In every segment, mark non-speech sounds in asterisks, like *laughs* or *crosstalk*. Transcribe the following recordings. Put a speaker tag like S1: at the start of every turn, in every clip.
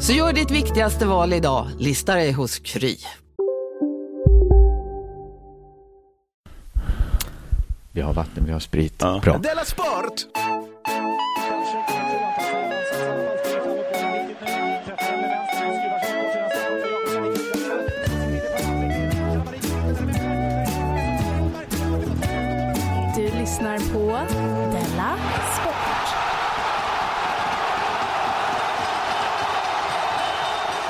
S1: Så gör ditt viktigaste val idag, listar dig hos Kry.
S2: Vi har vatten, vi har sprit.
S3: Ja.
S2: Bra.
S4: Della Sport!
S5: Du lyssnar på Della Sport.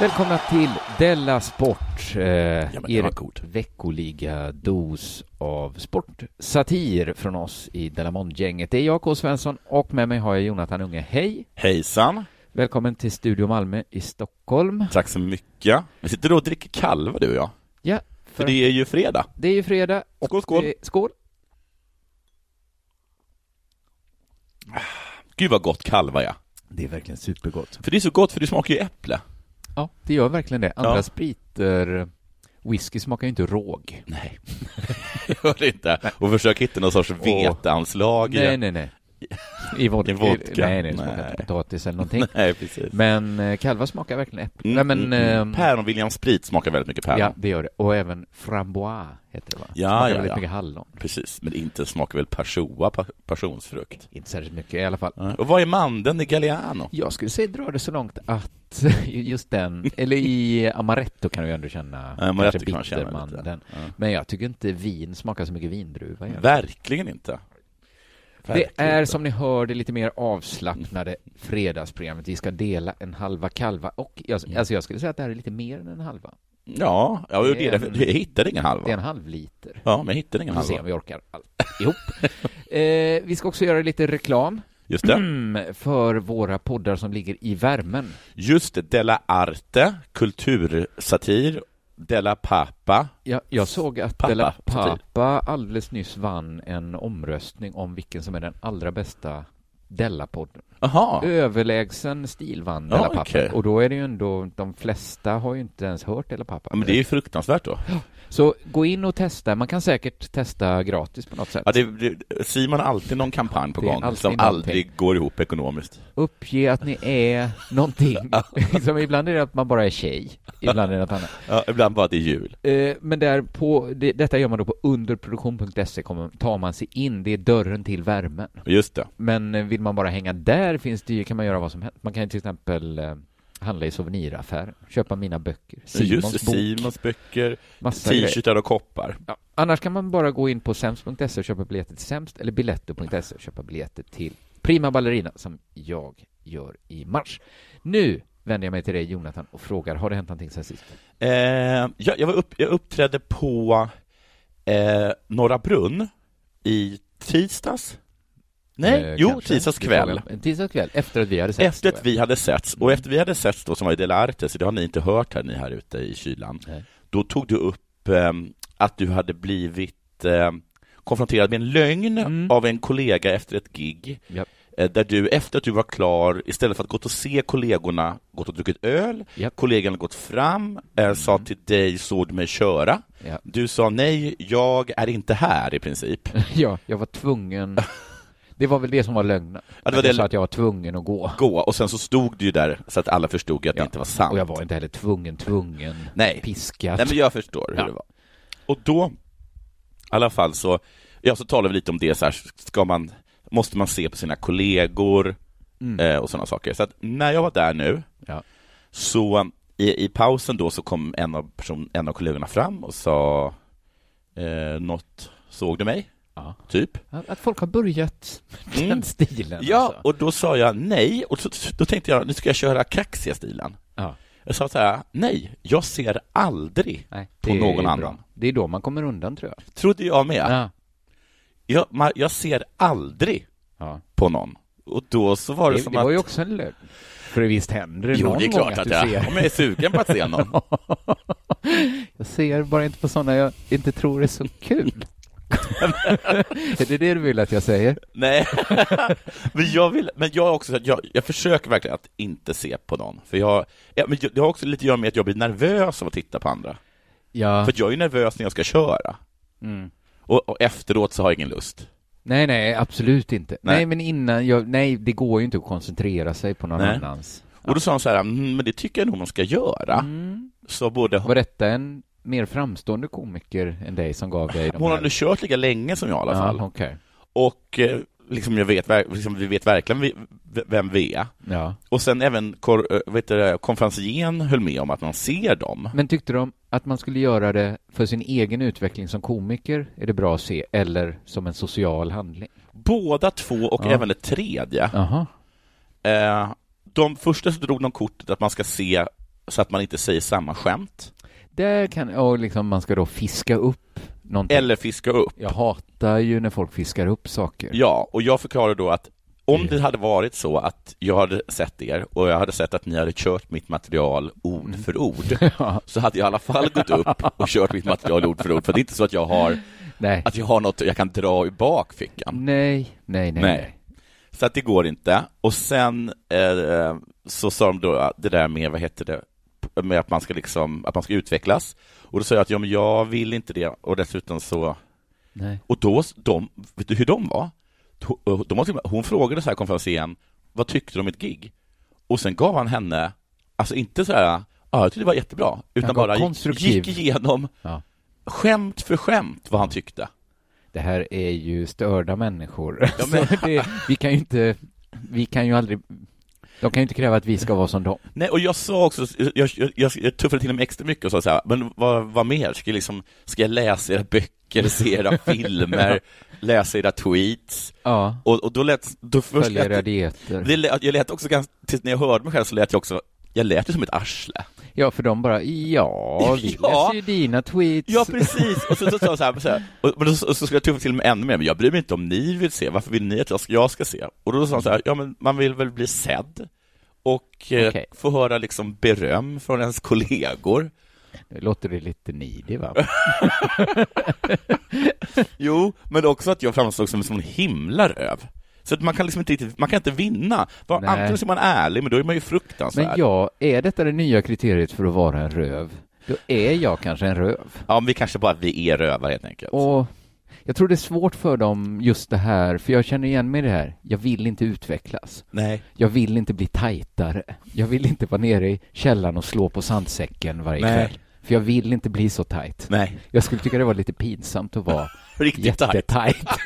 S2: Välkomna till Della Sport. Eh,
S3: men det var
S2: er
S3: god.
S2: veckoliga dos av sportsatir från oss i Delamond-gänget. Det är jag, K. Svensson, och med mig har jag Jonathan Unge. Hej!
S6: Hejsan,
S2: Välkommen till Studio Malmö i Stockholm.
S6: tack så mycket. Vi sitter och dricker kalva du och jag,
S2: Ja,
S6: för
S2: för
S6: det
S2: det...
S6: är ju fredag.
S2: är ju fredag. och
S6: Skål, skål.
S2: det är- Skål!
S6: Gud vad gott kalva ja.
S2: Det är verkligen supergott.
S6: För det är så gott för det smakar ju äpple.
S2: Ja, det gör verkligen det. Andra
S6: Ja.
S2: spriter... Whisky smakar ju inte råg.
S6: Nej, *laughs* gör det inte. Och försök hitta någon sorts veteanslag. i
S2: Nej,
S6: det.
S2: nej, nej. I vodka.
S6: I vodka.
S2: Nej, nej, det smakar
S6: Nej.
S2: inte potatis eller någonting.
S6: *laughs* nej precis. Mm,
S2: Men eh, kalva smakar verkligen äpple. Nej, men, ehm,
S6: Päron William Sprit smakar väldigt mycket päron.
S2: ja, det gör det. Och även frambois heter det va?
S6: Ja,
S2: smakar
S6: ja,
S2: väldigt
S6: ja.
S2: mycket hallon.
S6: Precis, men inte smakar väl persoa, pa- passionsfrukt.
S2: Inte särskilt mycket i alla fall.
S6: Ja. Och vad är mandeln i Galliano?
S2: Jag skulle säga dra det så långt att *laughs* just den, eller i amaretto kan du ju ändå känna
S6: Ja, amaretto
S2: kanske
S6: kan man känna lite.
S2: bittermandeln.
S6: Ja.
S2: Men jag tycker inte vin smakar så mycket vindruva. egentligen.
S6: Verkligen inte.
S2: Det
S6: Verkligen
S2: är
S6: inte. Mm.
S2: som ni hör det lite mer avslappnade fredagsprogrammet. Vi ska dela en halva kalva och jag,
S6: Mm.
S2: alltså jag skulle säga att det här är lite mer än en halva.
S6: Ja, ja det,
S2: Det
S6: är
S2: är-
S6: därför- jag hittade ingen halva.
S2: Det är en halv liter.
S6: Ja, men jag hittade
S2: Vi
S6: ingen
S2: får se om
S6: halva.
S2: vi orkar allt
S6: *laughs*
S2: ihop. eh, vi ska också göra lite reklam
S6: Just
S2: *clears throat*
S6: det.
S2: mm, för våra poddar som ligger i värmen.
S6: Just det, Della Arte, kultursatir, Della Pappa.
S2: Jag, jag såg att
S6: Pappa,
S2: Della
S6: så typ.
S2: Pappa alldeles nyss vann en omröstning om vilken som är den allra bästa Della-podden.
S6: Jaha,
S2: Överlägsen stil vann
S6: Ja,
S2: Della Pappa.
S6: okej.
S2: Och då är det ju ändå, de flesta har ju inte ens hört Della Pappa.
S6: ja, men det är ju fruktansvärt då.
S2: Så gå in och testa. Man kan säkert testa gratis på något sätt.
S6: Ja, det, det, Simon har alltid någon kampanj på
S2: Det är
S6: gång
S2: alltid
S6: som
S2: någonting.
S6: aldrig går ihop ekonomiskt.
S2: Uppge att ni är
S6: *laughs*
S2: någonting. *laughs* Som ibland är det att man bara är tjej, ibland är det något annat.
S6: Ja, ibland bara att det är jul.
S2: Eh, Men där på, det, detta gör man då på underproduktion.se, E, kommer- tar man sig in, det är dörren till värmen.
S6: Just det.
S2: Men eh, vill man bara hänga där finns det ju, kan man göra vad som helst. Man kan ju till exempel eh, handla i souvenirataffärer, köpa mina böcker, Simons
S6: Just det,
S2: bok,
S6: Simons böcker,
S2: massa grejer.
S6: t-shirtar och koppar.
S2: Ja, annars kan man bara gå in på sems.se E och köpa biljetter till Sems eller biletto.se och köpa biljetter till Prima Ballerina som jag gör i mars. Nu vänder jag mig till dig Jonathan och frågar, har det hänt någonting sen sist?
S6: Eh, jag, jag, var upp, jag uppträdde på eh, Norra Brunn i tisdags. Nej,
S2: Eh,
S6: jo,
S2: kanske?
S6: tisdags
S2: Det är
S6: kväll.
S2: frågan. En tisdags kväll, efter att vi hade sett.
S6: Efter att vi hade setts, och efter vi hade setts då som var i Dela Arte, så det har ni inte hört här, ni här ute i kylan,
S2: Nej.
S6: då tog du upp ehm, att du hade blivit ehm, konfronterad med en lögn
S2: Mm.
S6: av en kollega efter ett gig,
S2: Japp.
S6: eh, där du efter att du var klar, istället för att gått och se kollegorna, gått och druckit öl,
S2: Japp. Mm.
S6: kollegan gått fram, eh, sa till dig, såg du mig köra?
S2: Ja. *laughs*
S6: Du sa nej, jag är inte här i princip.
S2: ja, jag var
S6: *laughs*
S2: tvungen. Det var väl det som var lögnen.
S6: var
S2: jag
S6: det-
S2: sa att jag var tvungen att gå.
S6: Gå, och sen så stod du ju där så att alla förstod att det
S2: Ja.
S6: inte var sant.
S2: Och jag var inte heller tvungen, tvungen,
S6: Nej.
S2: piskad.
S6: Nej, men jag förstår
S2: Ja.
S6: hur det var. Och då, i alla fall så, ja, så talar vi lite om det så här, ska man, måste man se på sina
S2: Mm.
S6: kollegor eh, och sådana saker. Så att när jag var där nu,
S2: Ja.
S6: så i, i pausen då så kom en av, person, en av kollegorna fram och sa eh, något, såg du mig?
S2: Ja.
S6: Typ.
S2: Att att folk har börjat med
S6: Mm.
S2: den stilen.
S6: Ja,
S2: alltså.
S6: och då sa jag nej, och så, då tänkte jag nu ska jag köra kaxiga stilen.
S2: Ja.
S6: Jag sa så här, nej, jag ser aldrig,
S2: Nej,
S6: på
S2: det är
S6: någon
S2: bra.
S6: annan.
S2: Det är då man kommer undan, tror jag.
S6: trodde jag med.
S2: Ja.
S6: Jag, man, jag ser aldrig
S2: Ja.
S6: på någon. Och då så
S2: Det,
S6: var det,
S2: det,
S6: som
S2: var
S6: att...
S2: ju också en lögn. För visst händer det
S6: jo,
S2: någon
S6: det är
S2: gång
S6: klart
S2: att
S6: att
S2: du
S6: jag,
S2: ser.
S6: om jag är sugen på att se någon.
S2: *laughs* Jag ser bara inte på sådana jag inte tror är så
S6: *laughs*
S2: kul. är det det du vill att jag säger?
S6: Nej, *laughs* men jag vill, men jag har också, så att jag, jag försöker verkligen att inte se på någon, för jag, ja, men jag- det har också lite att göra med att jag blir nervös av att titta på andra,
S2: Ja.
S6: för att jag är nervös när jag ska köra,
S2: Mm.
S6: och, och efteråt så har jag ingen lust.
S2: Nej, nej, absolut inte. Nej,
S6: Nej.
S2: men innan jag, nej, det går ju inte att koncentrera sig på någon
S6: Nej.
S2: annans.
S6: Och då sa han så här, "Mm, men det tycker jag nog man ska göra,
S2: Mm.
S6: så både
S2: Var detta en mer framstående komiker än dig som gav dig de
S6: hon har
S2: här-
S6: nu kört lika länge som jag i alla fall,
S2: Ja, okej.
S6: och eh, liksom jag vet, verk- liksom, vi vet verkligen vi- v- vem vi är.
S2: Ja.
S6: Och sen även kor, eh, vet du, det, konferencieren höll med om att man ser dem.
S2: Men tyckte de att man skulle göra det för sin egen utveckling som komiker, är det bra att se, eller som en social handling?
S6: Båda två och
S2: Ja.
S6: även det tredje.
S2: Aha.
S6: Eh, de första så drog de kortet att man ska se så att man inte säger samma skämt,
S2: Där kan, och liksom man ska då fiska upp någonting.
S6: eller fiska upp.
S2: Jag hatar ju när folk fiskar upp saker.
S6: Ja, och jag förklarade då att om det hade varit så att jag hade sett er och jag hade sett att ni hade kört mitt material ord för ord, så hade jag i alla fall gått upp och kört mitt material ord för ord, för det är inte så att jag har,
S2: Nej.
S6: att jag har något jag kan dra i bakfickan.
S2: nej, nej, nej,
S6: Nej.
S2: nej.
S6: Så att det går inte. Och sen eh, så sa de då att det där med, vad heter det, med att man ska liksom, att man ska utvecklas. Och då sa jag att ja, men jag vill inte det och dessutom så,
S2: nej.
S6: och då, de, vet du hur de var? eh, De, de var till och med, hon frågade så här konferensen, vad tyckte du om mitt gig? Och sen gav han henne, alltså inte så här, ja, jag tyckte det var jättebra, utan
S2: Han gav
S6: bara gick,
S2: konstruktiv-
S6: gick igenom
S2: Ja.
S6: skämt för skämt vad han tyckte.
S2: Det här är ju störda människor.
S6: Ja,
S2: *laughs*
S6: men-
S2: Så det, vi kan ju inte, vi kan ju aldrig, de kan ju inte kräva att vi ska vara som dem.
S6: Nej, och jag sa också, jag, jag, jag, jag tuffade till mig extra mycket och sa så här, men vad, vad mer? Ska jag, liksom, ska jag läsa era böcker, se era
S2: *laughs*
S6: filmer, läsa era tweets?
S2: Ja,
S6: Och, och då lät, då först
S2: följa era
S6: lät,
S2: dieter.
S6: det lät, jag lät också ganska, tills när jag hörde mig själv så lät jag också, jag lät ju som ett arsle.
S2: Ja, för de bara, ja, vi
S6: *laughs* Ja.
S2: läser ju dina tweets.
S6: Ja, precis! Och så, så sa jag så här, så här och, men då, och så skulle jag tuffa till mig ännu mer, men jag bryr mig inte om ni vill se, varför vill ni att jag ska, jag ska se? Och då sa han så här, ja men man vill väl bli sedd och eh,
S2: Okej.
S6: få höra liksom beröm från ens kollegor.
S2: Nu låter det lite nidig,
S6: *laughs*
S2: va?
S6: Jo, men också att jag framstod som en sån himla röv. Så att man kan liksom inte riktigt, man kan inte vinna. Bara,
S2: Nej.
S6: antingen så är man ärlig, men då är man ju fruktansvärd.
S2: Men ja, är detta det nya kriteriet för att vara en röv? Då är jag kanske en röv.
S6: Ja, men vi kanske bara, vi är rövar helt enkelt.
S2: Och jag tror det är svårt för dem just det här, för jag känner igen mig i det här. Jag vill inte utvecklas.
S6: Nej.
S2: Jag vill inte bli tajtare. Jag vill inte vara nere i källaren och slå på sandsäcken varje
S6: Nej.
S2: kväll. För jag vill inte bli så tajt.
S6: Nej.
S2: Jag skulle tycka det var lite pinsamt att vara
S6: Riktigt tajt.
S2: jättetajt. *laughs*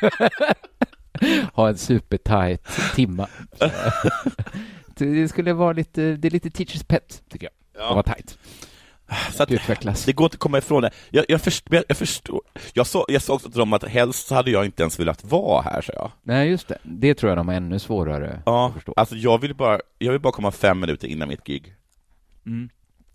S2: ha en supertajt
S6: *laughs*
S2: timma. det skulle vara lite, det är lite teachers pet, tycker jag. Att vara tajt.
S6: Så att,
S2: Utvecklas.
S6: det går inte att komma ifrån det. Jag, jag, förstår, jag förstår. Jag sa, jag sa också till dem att helst hade jag inte ens velat vara här, sa jag.
S2: Nej, just det. Det tror jag de har ännu svårare att förstå.
S6: Alltså, jag vill bara, jag vill bara komma fem minuter innan mitt gig.
S2: Mm.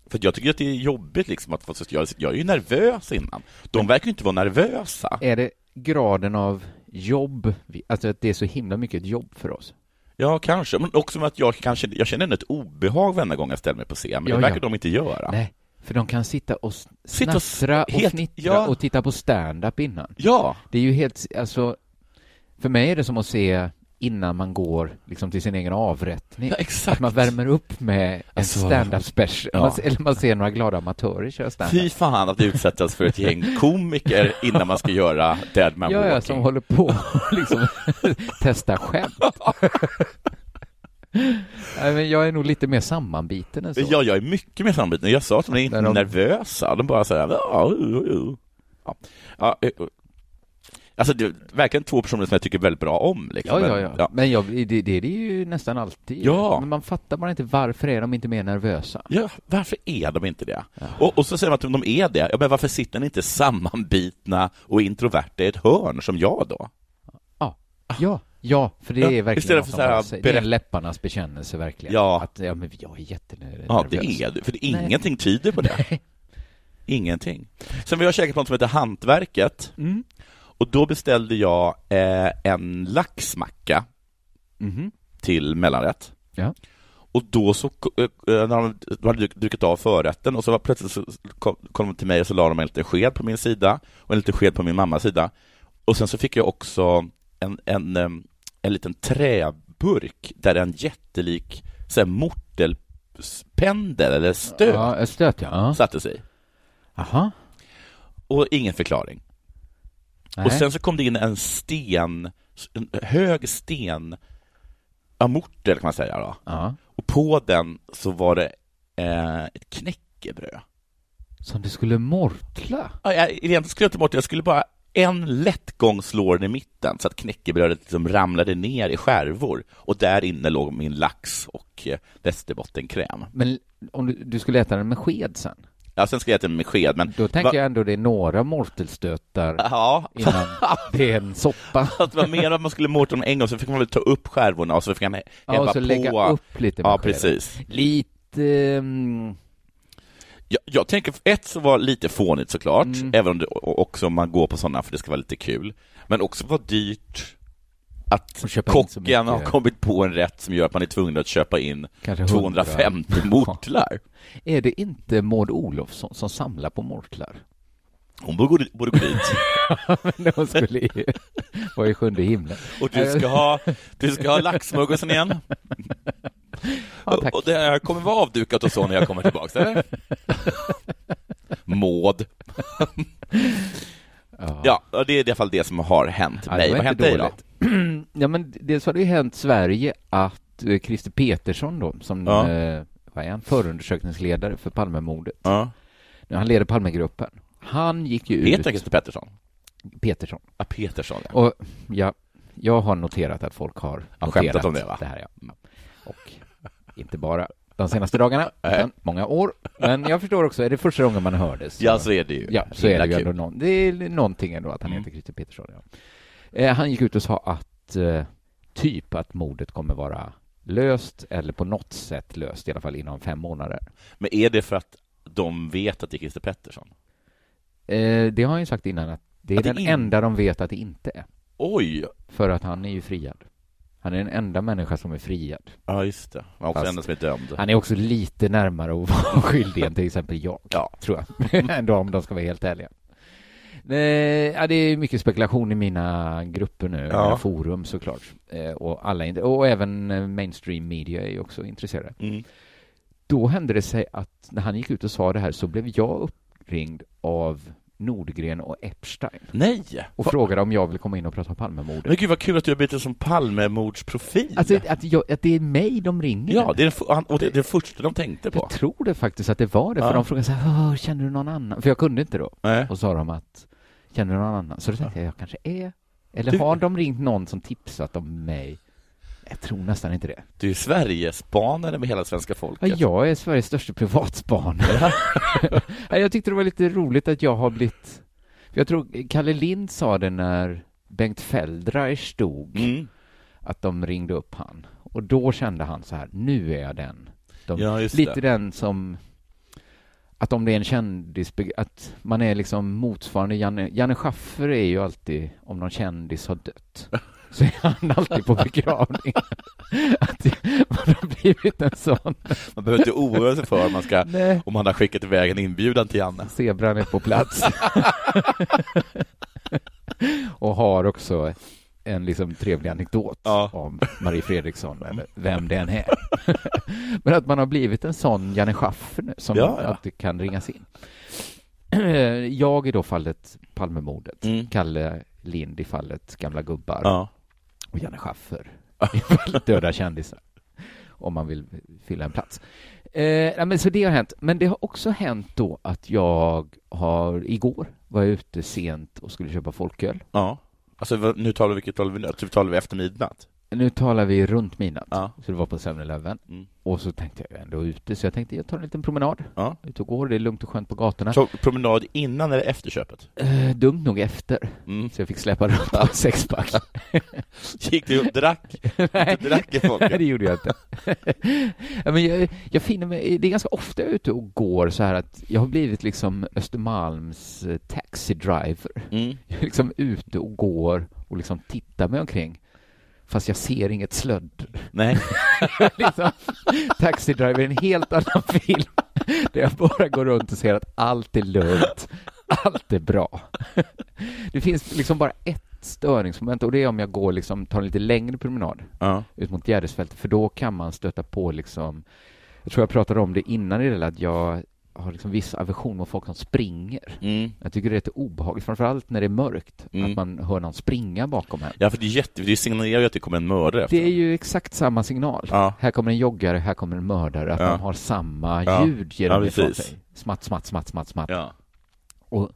S6: För att jag tycker att det är jobbigt liksom att få, jag, jag är ju nervös innan. De verkar ju inte vara nervösa.
S2: Är det graden av jobb, vi- alltså att det är så himla mycket ett jobb för oss?
S6: Ja, kanske. Men också med att jag kanske, jag känner ändå ett obehag varenda gång jag ställer mig på scen, men
S2: Ja,
S6: det verkar
S2: ja.
S6: de inte göra.
S2: Nej, för de kan sitta och s-
S6: Sitta och s-
S2: snattra och,
S6: helt-
S2: fnittra
S6: ja.
S2: och titta på stand-up innan.
S6: Ja,
S2: Det är ju helt, alltså, för mig är det som att se innan man går liksom till sin egen avrättning.
S6: ja exakt.
S2: Att man värmer upp med en
S6: Alltså,
S2: stand-up special,
S6: ja.
S2: man, se- eller man ser några glada amatörer köra
S6: Fy
S2: stand-up.
S6: fan att utsättas för ett gäng komiker innan man ska göra Dead Man
S2: Ja, ja,
S6: Walking.
S2: som håller på
S6: *laughs*
S2: och liksom *laughs* testa skämt. Nej, men jag är nog lite mer sammanbiten än så.
S6: Ja, jag är mycket mer sammanbiten. Jag sa att de är inte
S2: När de-
S6: nervösa. De bara säger ja, uh, uh, uh. ja. ja, uh, uh. eh, Alltså, det är verkligen två personer som jag tycker väldigt bra om. Liksom.
S2: Ja, ja,
S6: Men,
S2: ja. Men jag, det, det, det är ju nästan alltid.
S6: Ja.
S2: Men man fattar bara inte varför är de inte mer nervösa.
S6: Ja, varför är de inte det? Och, och så säger man att de är det. Ja, men varför sitter ni inte sammanbitna och introverta i ett hörn som jag då?
S2: Ja, ja, för det
S6: Ah. Ja,
S2: är verkligen
S6: istället
S2: något
S6: för
S2: som
S6: så här,
S2: håller sig. Det är
S6: berätt-
S2: en läpparnas bekännelse verkligen.
S6: Ja.
S2: Att, ja men jag är jättenervös.
S6: Ja, det är det. För det,
S2: Nej.
S6: ingenting tyder på det. *laughs* Ingenting. Sen vill jag käka på något som heter Hantverket.
S2: Mm.
S6: Och då beställde jag eh, en laxmacka
S2: Mhm.
S6: till mellanrätt.
S2: Ja.
S6: Och då så, eh, när de de hade duk- druckit av förrätten och så var plötsligt så kom, kom de till mig och så la de en liten sked på min sida och en liten sked på min mammas sida. Och sen så fick jag också en, en, eh, en liten träburk där en jättelik så här, mortelpendel eller stöt
S2: Ja, ett stöt ja. Ja.
S6: satte sig.
S2: Aha.
S6: Och ingen förklaring.
S2: Nej.
S6: Och sen så kom det in en sten, en hög sten, av mortel kan man säga då.
S2: Ja.
S6: Och på den så var det eh, ett knäckebröd.
S2: Som du skulle mortla.
S6: Ja, jag, egentligen skulle jag inte bort det. jag skulle bara en lätt gång slå den i mitten så att knäckebrödet liksom ramlade ner i skärvor. Och där inne låg min lax och eh, västerbottenkräm.
S2: Men om du, du skulle äta den med sked sen?
S6: Ja, sen ska jag äta den med sked, men...
S2: Då tänker
S6: Va-
S2: jag ändå det är några
S6: *laughs*
S2: mortelstötar
S6: Ja,
S2: innan det är en
S6: *laughs*
S2: soppa.
S6: att det var mer att man skulle morta dem en gång, så fick man väl ta upp skärvorna och så fick man hä-
S2: Ja,
S6: häva
S2: och så
S6: på.
S2: lägga upp lite med
S6: ja,
S2: skeden.
S6: precis.
S2: Lite... mm,
S6: Jag, jag tänker, ett så var lite fånigt såklart,
S2: Mm.
S6: även om det, och- också om man går på sådana för det ska vara lite kul. Men också var dyrt att
S2: Och köpa in så
S6: kocken har
S2: mycket.
S6: kommit på en rätt som gör att man är tvungen att köpa in
S2: Kanske
S6: 250 mortlar.
S2: Är det inte Maud Olofsson som samlar på mortlar? *laughs*
S6: Hon borde, gå- borde gå dit.
S2: De skulle ju vara i sjunde himlen.
S6: Och du ska ha, du ska ha laxsmörgåsen igen.
S2: Ja, tack.
S6: och det här kommer vara avdukat och så när jag kommer tillbaka, eller? Maud. ja. och det är i alla fall det som har hänt
S2: Ja, det
S6: mig.
S2: var
S6: Vad har hänt
S2: inte
S6: dig då?
S2: Ja, men dels har det ju hänt Sverige att eh, Christer Petersson då, som
S6: Ja.
S2: eh, vad är han, förundersökningsledare för Palmemordet,
S6: Ja.
S2: nu, han leder Palmegruppen, han gick ju ut,
S6: Heter han Christer Pettersson?
S2: Petersson,
S6: Ja, Petersson, ja.
S2: och ja, jag har noterat att folk har
S6: Ja,
S2: noterat
S6: skämtat om det, va?
S2: här, ja. Och inte bara de senaste dagarna, utan många år. Men jag förstår också, är det första gången man hördes?
S6: Ja, så är det Mm. ju.
S2: Ja, så är det ju ändå någon, det är någonting ändå att han heter Christer Petersson. Ja. Eh, han gick ut och sa att eh, typ att mordet kommer vara löst eller på något sätt löst i alla fall inom fem månader.
S6: Men är det för att de vet att det är Christer Pettersson?
S2: Eh, det har han ju sagt innan att det är
S6: Att det
S2: den
S6: in-
S2: enda de vet att det inte är.
S6: Oj!
S2: För att han är ju friad. Han är den enda människa som är friad.
S6: Ja, just det. Han är också
S2: Fast-
S6: den enda som är dömd.
S2: Han är också lite närmare att *laughs* vara skyldig än till exempel jag,
S6: Ja.
S2: tror jag. *laughs* Ändå om de ska vara helt ärliga. Eh, ja, det är mycket spekulation i mina grupper nu,
S6: Ja.
S2: mina forum såklart. Eh, och, alla är inte- och även eh, mainstream media är ju också intresserade.
S6: Mm.
S2: Då hände det sig att när han gick ut och sa det här så blev jag uppringd av Nordgren och Epstein
S6: Nej!
S2: och frågade om jag ville komma in och prata om Palmemordet.
S6: Men gud vad kul att du har blivit en sån Palmemordsprofil.
S2: Alltså att, jag, att det är mig de ringer.
S6: ja, det är den, f- han- och det, det är det första de tänkte på.
S2: Jag tror det faktiskt att det var det, för
S6: Ja.
S2: de frågade så här, "Åh, känner du någon annan? För jag kunde inte då.
S6: Nej.
S2: Och sa de att, känner du någon annan? Så då tänkte jag, jag kanske är, eller
S6: Du-
S2: har de ringt någon som tipsat om mig? Jag tror nästan inte det.
S6: Du är Sverigespanare med hela svenska
S2: Ja,
S6: folket.
S2: jag är Sveriges största privatspanare. *laughs* Nej, jag tyckte det var lite roligt att jag har blivit, för jag tror Kalle Lind sa det när Bengt Feldreich dog,
S6: Mm.
S2: att de ringde upp han. Och då kände han så här, nu är jag den. De,
S6: Ja, just
S2: lite
S6: det.
S2: den som att om det är en kändis, att man är liksom motsvarande Janne, Janne Schaffer är ju alltid om någon kändis har
S6: *laughs*
S2: dött så är han alltid på begravning. *laughs* Att man har blivit en sån.
S6: Man behöver inte oroa sig för om man
S2: *laughs*
S6: ska,
S2: Nej.
S6: om han har skickat iväg en inbjudan till Janne.
S2: Zebran är på plats. *laughs* Och har också en liksom trevlig anekdot
S6: Ja.
S2: om Marie Fredriksson, eller vem det än är. *laughs* Men att man har blivit en sån Janne Schaffer nu, som
S6: Ja, ja.
S2: alltid kan ringas in. *clears throat* Jag i då fallet Palmemordet,
S6: Mm.
S2: Kalle Lind i fallet Gamla gubbar
S6: Ja.
S2: och Janne Schaffer *laughs* i fallet Döda kändisar, om man vill fylla en plats. Eh, nej, men så det har hänt. Men det har också hänt då att jag har, igår var jag ute sent och skulle köpa folköl
S6: ja. Alltså vad- nu talar vi, vilket talar vi nu? Typ talar vi efter midnatt?
S2: Nu talar vi runt midnatt,
S6: Ja.
S2: så det var på 7-Eleven.
S6: Mm.
S2: Och så tänkte jag ändå ute, så jag tänkte jag tar en liten promenad.
S6: Ja.
S2: Ut och går, det är lugnt och skönt på gatorna.
S6: Så promenad innan eller efter köpet? *laughs*
S2: Eh, dumt nog efter,
S6: Mm.
S2: så jag fick släppa runt på sexpack.
S6: *laughs* Gick du och drack?
S2: *laughs* Nej.
S6: Du drack i
S2: Nej,
S6: folket?
S2: det gjorde jag inte. *laughs* Ja, Men jag, jag finner mig, det är ganska ofta jag är ute och går så här att jag har blivit liksom Östermalms eh, taxidriver.
S6: Mm.
S2: Jag är liksom ute och går och liksom tittar mig omkring. Fast jag ser inget slödd. *laughs*
S6: Nej.
S2: liksom, Taxi Driver är en helt annan *laughs* film där jag bara går runt och ser att allt är lugnt, allt är bra. *laughs* Det finns liksom bara ett störningsmoment och det är om jag går liksom, tar en lite längre promenad
S6: Ja.
S2: ut mot Gärdesfältet för då kan man stöta på liksom, jag tror jag pratade om det innan i det där, att jag har liksom viss aversion mot folk som springer.
S6: Mm.
S2: Jag tycker det är lite obehagligt, framförallt när det är mörkt,
S6: Mm.
S2: att man hör någon springa bakom en.
S6: Ja, för det är jätte... Det signalerar ju att det kommer en mördare efter.
S2: Det är ju exakt samma signal.
S6: Ja.
S2: Här kommer en joggare, här kommer en mördare, att
S6: Ja.
S2: man har samma
S6: Ja.
S2: ljud ger
S6: Ja,
S2: de ifrån
S6: precis.
S2: sig. Smatt, smatt, smatt, smatt, smatt.
S6: Ja.
S2: Och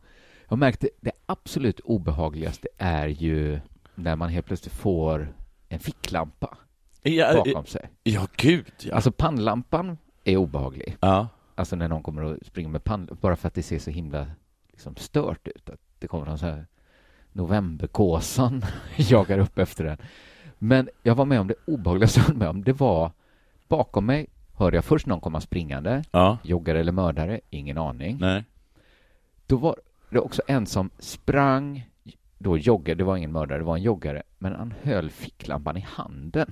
S2: jag märkte, det absolut obehagligaste är ju när man helt plötsligt får en ficklampa
S6: Ja,
S2: bakom sig.
S6: ja, gud ja.
S2: Alltså pannlampan är obehaglig.
S6: ja.
S2: Alltså när någon kommer och springer med pannlampan, bara för att det ser så himla liksom, stört ut. Att det kommer någon så här novemberkåsan *laughs* jagar upp efter den. Men jag var med om det obehagligaste jag var med om, det var bakom mig hörde jag först någon komma springande,
S6: Ja.
S2: joggare eller mördare, ingen aning.
S6: Nej.
S2: Då var det också en som sprang, då joggade, det var ingen mördare, det var en joggare, men han höll ficklampan i handen.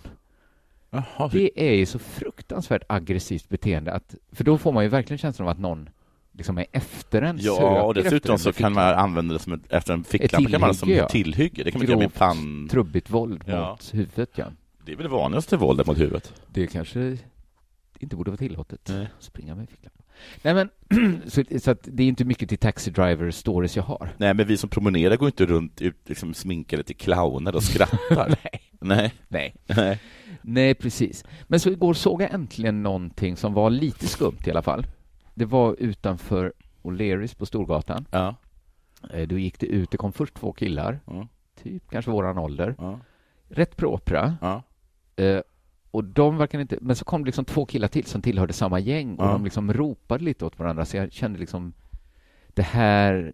S6: Jaha. Det...
S2: Det är ju så fruktansvärt aggressivt beteende att, för då får man ju verkligen känslan av att någon liksom är efter en, söker
S6: Ja, och
S2: efter
S6: dessutom
S2: en
S6: så
S2: med
S6: kan man använda det som ett, efter en ficklampa
S2: tillhygge,
S6: kan man ha som
S2: ja.
S6: tillhygge. Det kan man göra med
S2: grovt,
S6: pann.
S2: trubbigt våld
S6: Ja.
S2: mot huvudet, ja.
S6: Det är väl det vanligaste våldet mot huvudet.
S2: Det kanske inte borde vara tillåtet.
S6: Nej.
S2: Springa med ficklampa. Nej, men *clears throat* så, så att det är inte mycket till Taxi Driver stories jag har.
S6: Nej, men vi som promenerar går inte runt ut, liksom, sminkade till clowner och skrattar.
S2: *laughs* Nej.
S6: Nej.
S2: Nej.
S6: Nej.
S2: Nej, precis. Men så igår såg jag äntligen någonting som var lite skumt i alla fall. Det var utanför O'Learys på Storgatan.
S6: Ja.
S2: Eh, Då gick det ut, det kom först två killar,
S6: Ja.
S2: typ kanske våran ålder,
S6: Ja.
S2: rätt propra.
S6: Ja.
S2: Eh, och de verkar inte, men så kom det liksom två killar till som tillhörde samma gäng och
S6: Ja.
S2: de liksom ropade lite åt varandra så jag kände liksom det här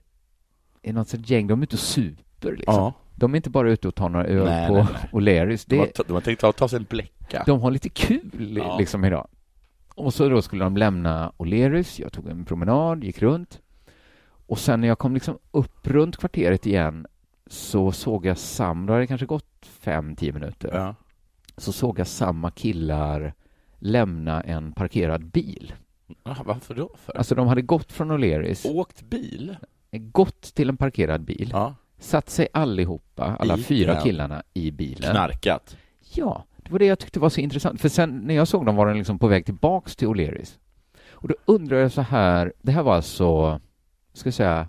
S2: är något sorts gäng, de är ute och super liksom.
S6: ja.
S2: De är inte bara ute och tar några öl
S6: Nej, nej,
S2: på O'Learys.
S6: De, har,
S2: Det,
S6: ta- de har tänkt ta, ta sig en bläcka.
S2: de har lite kul
S6: Ja.
S2: liksom idag. Och så då skulle de lämna O'Learys, jag tog en promenad, gick runt. Och sen när jag kom liksom upp runt kvarteret igen så såg jag Sam, då hade det kanske gått fem, tio minuter
S6: Ja.
S2: så såg jag samma killar lämna en parkerad bil.
S6: Ah, varför då? För?
S2: Alltså de hade gått från O'Learys,
S6: Åkt bil?
S2: gått till en parkerad bil,
S6: Oh. Ja.
S2: satt sig allihopa, alla
S6: I
S2: fyra
S6: den.
S2: killarna, i bilen.
S6: Knarkat?
S2: Ja, det var det jag tyckte var så intressant. För sen när jag såg dem var de liksom på väg tillbaks till O'Learys. Och då undrar jag så här, det här var alltså, ska jag säga,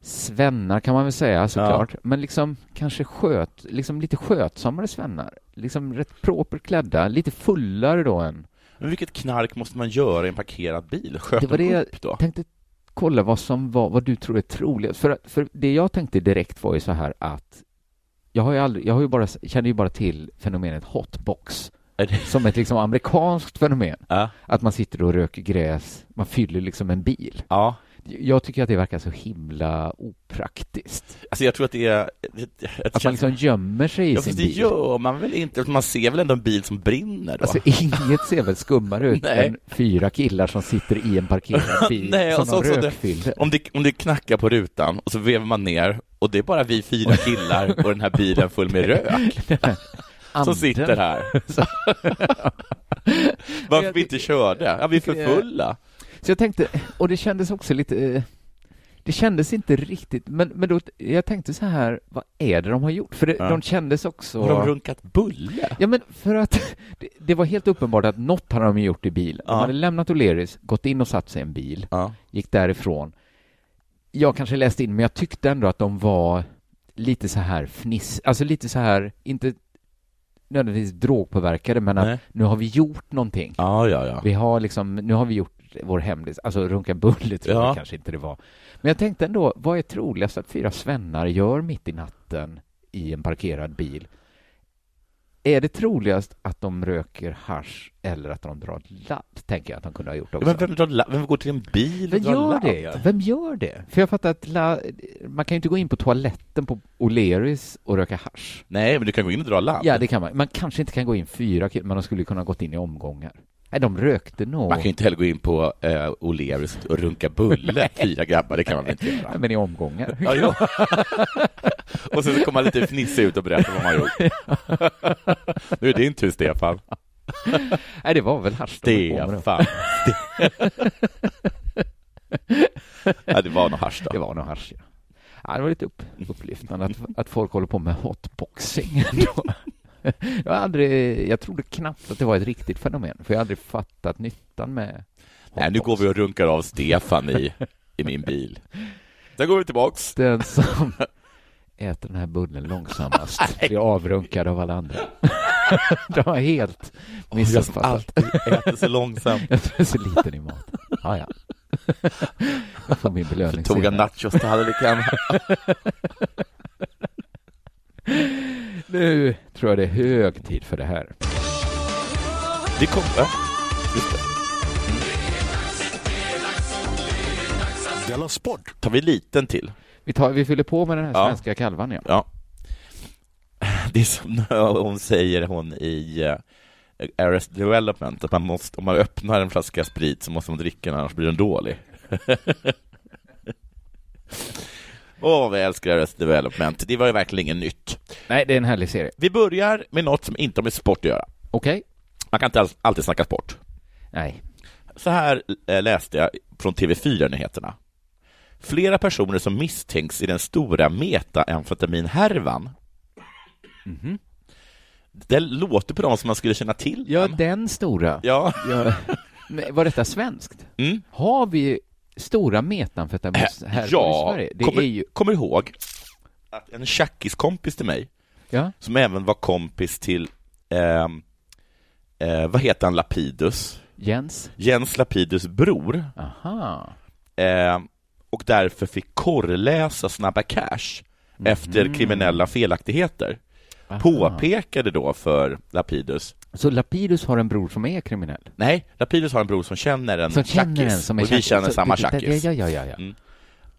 S2: svennar kan man väl säga såklart, men liksom kanske sköt, liksom lite skötsammare svennar. Liksom rätt proper klädda, lite fullare då än
S6: Men vilket knark måste man göra i en parkerad bil? Sköt
S2: Det var
S6: de
S2: det
S6: upp då?
S2: tänkte kolla vad som var, vad du tror är troligast. För, att- för det jag tänkte direkt var ju så här att jag har ju aldrig, jag har ju bara, känner ju bara till fenomenet hotbox
S6: Är det-
S2: som ett liksom amerikanskt fenomen.
S6: Ja.
S2: Att man sitter och röker gräs, man fyller liksom en bil.
S6: ja.
S2: Jag tycker att det verkar så himla opraktiskt.
S6: Alltså jag tror att det är... Det, det,
S2: Att man liksom gömmer sig i
S6: ja,
S2: sin
S6: fast det
S2: bil.
S6: gör man väl inte? Man ser väl ändå en bil som brinner då?
S2: Alltså inget ser väl skummare ut
S6: *laughs* Nej.
S2: än fyra killar som sitter i en
S6: *laughs*
S2: parkerad bil
S6: Nej,
S2: som
S6: och så-
S2: de
S6: så det-
S2: rökfyller.
S6: om, det, om det knackar på rutan och så vevar man ner och det är bara vi fyra killar och den här bilen full med rök som
S2: Anden.
S6: sitter här. Varför vi inte körde? Ja, vi är för fulla.
S2: Så jag tänkte, och det kändes också lite, eh, det kändes inte riktigt, men, men då, jag tänkte så här, vad är det de har gjort? För det,
S6: Ja.
S2: de kändes också...
S6: Har de runkat bulle?
S2: Ja men för att *laughs* det, det var helt uppenbart att något hade de gjort i bilen.
S6: Ja.
S2: De hade lämnat O'Learys, gått in och satt sig i en bil,
S6: Ja.
S2: gick därifrån. Jag kanske läste in, men jag tyckte ändå att de var lite så här fniss, alltså lite så här, inte nödvändigtvis drogpåverkade, men
S6: Nej.
S2: att nu har vi gjort någonting.
S6: Ja, ja, ja.
S2: Vi har liksom, nu har vi gjort vår hemlis, alltså runka bulle tror
S6: Ja.
S2: jag kanske inte det var. Men jag tänkte ändå, vad är troligast att fyra svennar gör mitt i natten i en parkerad bil. Är det troligast att de röker hasch eller att de drar ladd, tänker jag att de kunde ha gjort också.
S6: Men vem, drar la- vem går till en bil och
S2: Vem
S6: drar
S2: gör
S6: ladd?
S2: det? Vem gör det? För jag fattar att la, man kan ju inte gå in på toaletten på O'Learys och röka hasch.
S6: Nej, men du kan gå in och dra ladd.
S2: Ja, det kan man. Man kanske inte kan gå in fyra kilo, men de skulle ju kunna ha gått in i omgångar. Nej, de rökte nog.
S6: Man kan ju inte heller gå in på eh, O'Learys och runka bulle, fyra grabbar, det kan man väl inte göra?
S2: Men i omgångar.
S6: Ja, jo. *laughs* och sen så kommer man lite fnissig ut och berättar vad man har gjort. nu är det din tur, Stefan.
S2: Nej, det var väl hasch de höll på med då.
S6: Stefan. *laughs* ja, det var nog hasch
S2: Det
S6: då.
S2: var nog hasch, ja. ja. Det var lite upp, upplyftande att, att folk håller på med hotboxing *laughs* ändå. Jag, har aldrig, jag trodde knappt att det var ett riktigt fenomen, för jag har aldrig fattat nyttan med
S6: Nej, nu går vi och runkar av Stefan i, i min bil. Sen går vi tillbaks.
S2: Den som äter den här bullen långsammast blir avrunkad av alla andra. *laughs* De har helt
S6: Jag som
S2: missuppfattat.
S6: alltid äter så långsamt.
S2: Jag är så liten i mat. Ja, ja. Jag får min belöning
S6: Tog en
S2: senare.
S6: nachostallriken.
S2: Nu tror jag det är hög tid för det här.
S6: *laughs* Det kom... Ja. Just det. Tar vi liten till?
S2: Vi, tar, vi fyller på med den här
S6: Ja.
S2: svenska kalvan, ja.
S6: Ja. *laughs* Det är som hon säger, hon i eh, Arrest Development, att man måste, om man öppnar en flaska sprit så måste man dricka den, annars blir den dålig. *laughs* Åh, vad jag älskar Arrest Development. Det var ju verkligen inget nytt.
S2: Nej, det är en härlig serie.
S6: Vi börjar med något som inte har med sport att göra.
S2: Okej?
S6: Man kan inte alls- alltid snacka sport.
S2: Nej.
S6: Så här eh, läste jag från TV4-nyheterna. Flera personer som misstänks i den stora metaamfetaminhärvan.
S2: Mhm.
S6: Det låter på dem som man skulle känna till
S2: Ja,
S6: den.
S2: den stora.
S6: Ja,
S2: Ja. *laughs* Men Var detta svenskt?
S6: Mm. Äh,
S2: Har vi stora metamfetamis här i
S6: ja.
S2: Sverige? Det
S6: kommer,
S2: är ju...
S6: kommer ihåg att en tjackiskompis till mig,
S2: Ja.
S6: som även var kompis till, ehm, eh, vad heter han, Lapidus?
S2: Jens?
S6: Jens Lapidus bror,
S2: Aha.
S6: eh, och därför fick korrläsa Snabba Cash
S2: Mhm.
S6: efter kriminella felaktigheter. Påpekade då för Lapidus,
S2: Så Lapidus har en bror som är kriminell?
S6: nej, Lapidus har en bror som känner en
S2: Som känner en
S6: tjackis,
S2: som är
S6: och vi
S2: tjackis.
S6: känner
S2: Så-
S6: samma
S2: det- det-
S6: tjackis.
S2: Ja, ja, ja. ja.
S6: Mm.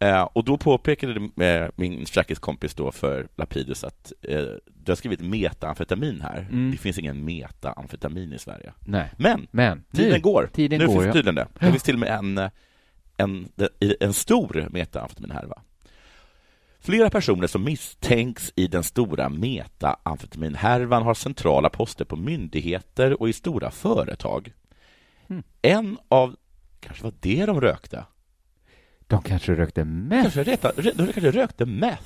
S6: Eh, och då påpekade eh, min tjackiskompis då för Lapidus att eh, du har skrivit metaamfetamin här.
S2: Mm.
S6: Det finns ingen metaamfetamin i Sverige.
S2: Nej.
S6: Men,
S2: Men
S6: tiden
S2: nu,
S6: går.
S2: Tiden
S6: nu
S2: går,
S6: finns
S2: ja.
S6: tydligen det. Det finns till och med en, en, en stor metaamfetaminhärva. Flera personer som misstänks i den stora metaamfetaminhärvan har centrala poster på myndigheter och i stora företag.
S2: Hmm.
S6: En av, kanske var det de rökte?
S2: de kanske rökte meth.
S6: Kanske, reta, re, de kanske rökte meth?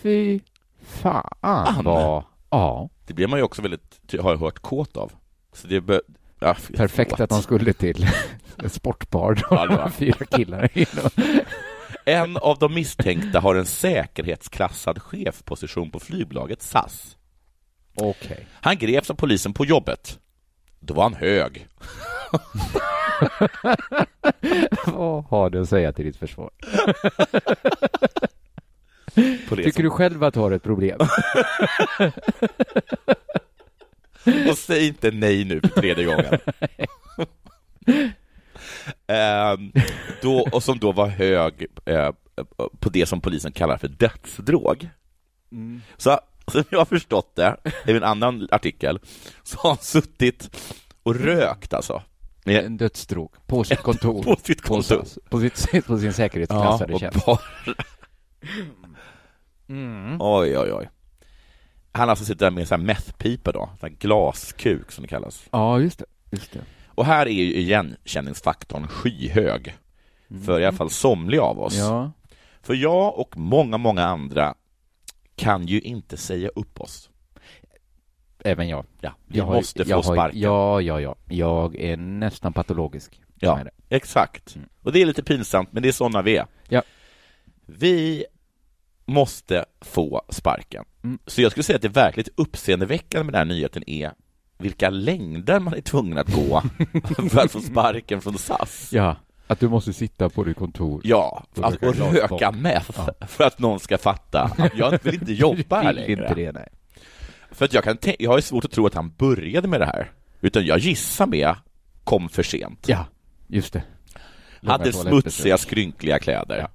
S2: Fy fan
S6: Ann.
S2: vad... Ja,
S6: Det blir man ju också väldigt, ty- har jag hört, kåt av. Så det bör, ja, f-
S2: perfekt
S6: kåt.
S2: att de skulle till *laughs* en sportbar. Då
S6: Ja, det var-
S2: var fyra killar in och-
S6: En av de misstänkta har en säkerhetsklassad chefposition på flygbolaget SAS.
S2: Okej.
S6: Han greps av polisen på jobbet. Då var han hög.
S2: Vad har du att säga till ditt försvar?
S6: Polisen.
S2: Tycker du själv att du har ett
S6: *laughs*
S2: problem?
S6: Och säg inte nej nu för
S2: *laughs*
S6: tredje gången. Ehm, då, och som då var hög eh, på det som polisen kallar för dödsdrog.
S2: Mm.
S6: Så som jag har förstått det, i en annan artikel, så har han suttit och rökt alltså. Med-
S2: En dödsdrog på sitt kontor.
S6: På sitt kontor.
S2: På, sin- på, sitt, på sin säkerhetsklassade
S6: och
S2: tjänst. *laughs*
S6: bara...
S2: Mm.
S6: Oj, oj, oj. Han har alltså suttit där med en sån här methpipa då, en sån här glaskuk som det kallas.
S2: Ja, just det. Just det.
S6: Och här är ju igenkänningsfaktorn skyhög för i alla fall somliga av oss.
S2: Mm. Ja.
S6: För jag och många, många andra kan ju inte säga upp oss.
S2: Även jag.
S6: Ja, vi
S2: Jag har-
S6: måste få
S2: jag har-
S6: sparken.
S2: Ja, ja, ja. Jag är nästan patologisk.
S6: Ja,
S2: med det.
S6: exakt. Och det är lite pinsamt, men det är sådana vi är.
S2: Ja.
S6: Vi måste få sparken.
S2: Mm.
S6: Så jag skulle säga att det verkligt uppseendeväckande med den här nyheten är
S2: *laughs*
S6: vilka längder man är tvungen att gå för att få sparken från SAS.
S2: ja. Att du måste sitta på ditt kontor.
S6: Ja,
S2: Då
S6: att,
S2: brukar
S6: och
S2: jag glad vara.
S6: röka meth
S2: Ja.
S6: för att någon ska fatta att jag vill inte jobba här
S2: Du *laughs* vill inte det,
S6: längre.
S2: nej.
S6: För att jag, kan tän- jag har ju svårt att tro att han började med det här, utan jag gissar med kom för sent.
S2: Ja, just det. Långa
S6: Hade
S2: toalettbesök.
S6: smutsiga, skrynkliga kläder.
S2: Ja.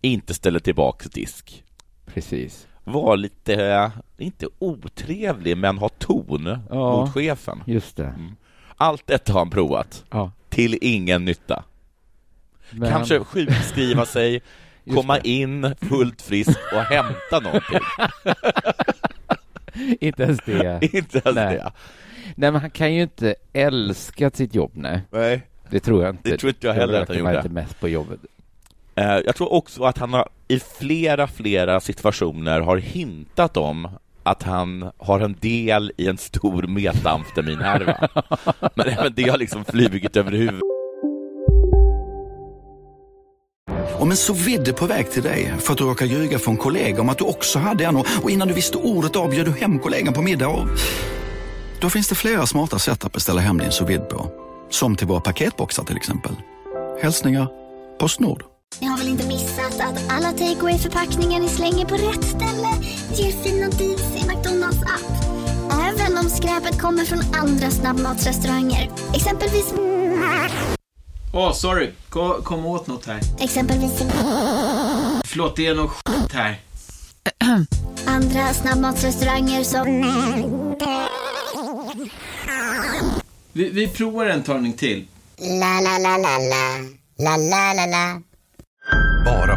S6: Inte ställde tillbaka disk.
S2: Precis.
S6: Var lite, eh, inte otrevlig, men ha ton
S2: Ja.
S6: mot chefen.
S2: Just det.
S6: Mm. Allt detta har han provat,
S2: Ja.
S6: till ingen nytta.
S2: Men,
S6: Kanske sjukskriva
S2: *laughs*
S6: sig,
S2: Just
S6: komma
S2: det.
S6: in fullt frisk och hämta
S2: *laughs*
S6: någonting.
S2: Inte ens det.
S6: Inte ens
S2: Nej.
S6: det.
S2: Nej, men han kan ju inte älska sitt jobb, nej.
S6: Nej.
S2: Det tror jag inte.
S6: Det tror inte jag heller att han
S2: röker man
S6: gjorde.
S2: inte mest på jobbet.
S6: Eh, Jag tror också att han har, i flera, flera situationer har hintat om att han har en del i en stor
S2: *laughs*
S6: metamfetaminhärva. Men även det har liksom flugit över huvudet.
S4: Om en så vidde på väg till dig för att du råkar ljuga från kollega om att du också hade en och och innan du visste ordet av bjöd du hem kollegan på middag och... Då finns det flera smarta sätt att beställa hem din sous vide på. Som till våra paketboxar till exempel. Hälsningar Postnord.
S7: Ni har väl inte missat att alla takeaway förpackningar ni slänger på rätt ställe ger fina deals i McDonalds app. Även om skräpet kommer från andra snabbmatsrestauranger. Exempelvis...
S8: Åh, sorry. Kom, kom åt något här.
S7: Exempelvis...
S8: Förlåt, det är något skit här.
S7: Andra snabbmatsrestauranger som...
S8: Vi, vi provar en talning till.
S7: La, la, la, la, la. La, la, la, la.
S9: Bara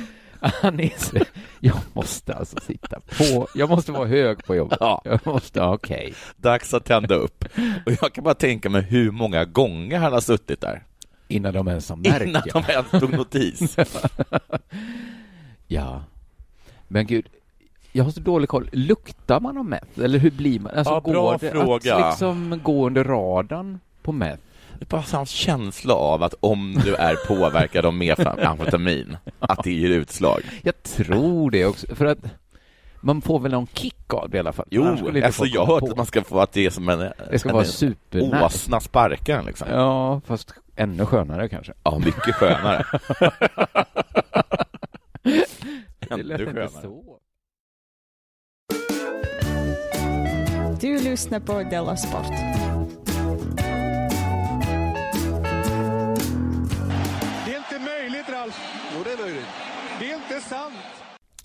S2: Han är så... Jag måste alltså sitta på... Jag måste vara hög på jobbet.
S6: Ja.
S2: Jag måste... Okej.
S6: Dags att tända upp. Och jag kan bara tänka mig hur många gånger han har suttit där.
S2: Innan de ens har märkt,
S6: Innan
S2: ja.
S6: de ens tog notis.
S2: Ja. Men gud, jag har så dålig koll. Luktar man av meth? Eller hur blir man? Alltså,
S6: Ja,
S2: går
S6: bra
S2: det
S6: fråga.
S2: att liksom gå under radarn på meth?
S6: Det är bara hans känsla av att om du är påverkad av metamfetamin, att det ger utslag.
S2: Jag tror det också, för att man får väl någon kick av det i alla fall.
S6: Jo,
S2: Annars skulle inte
S6: alltså
S2: folk
S6: jag har
S2: komma
S6: hört
S2: på.
S6: att man ska få att det är som en,
S2: Det ska
S6: en,
S2: vara supernära.
S6: åsna sparkar en, liksom.
S2: Ja, fast ännu skönare kanske.
S6: Ja, mycket skönare.
S2: *laughs* Det lät
S6: Ännu
S2: inte
S6: skönare.
S2: så.
S10: Du lyssnar på Della Sport.
S11: Det är inte möjligt, Ralf. Jo, det är möjligt. Det är inte sant.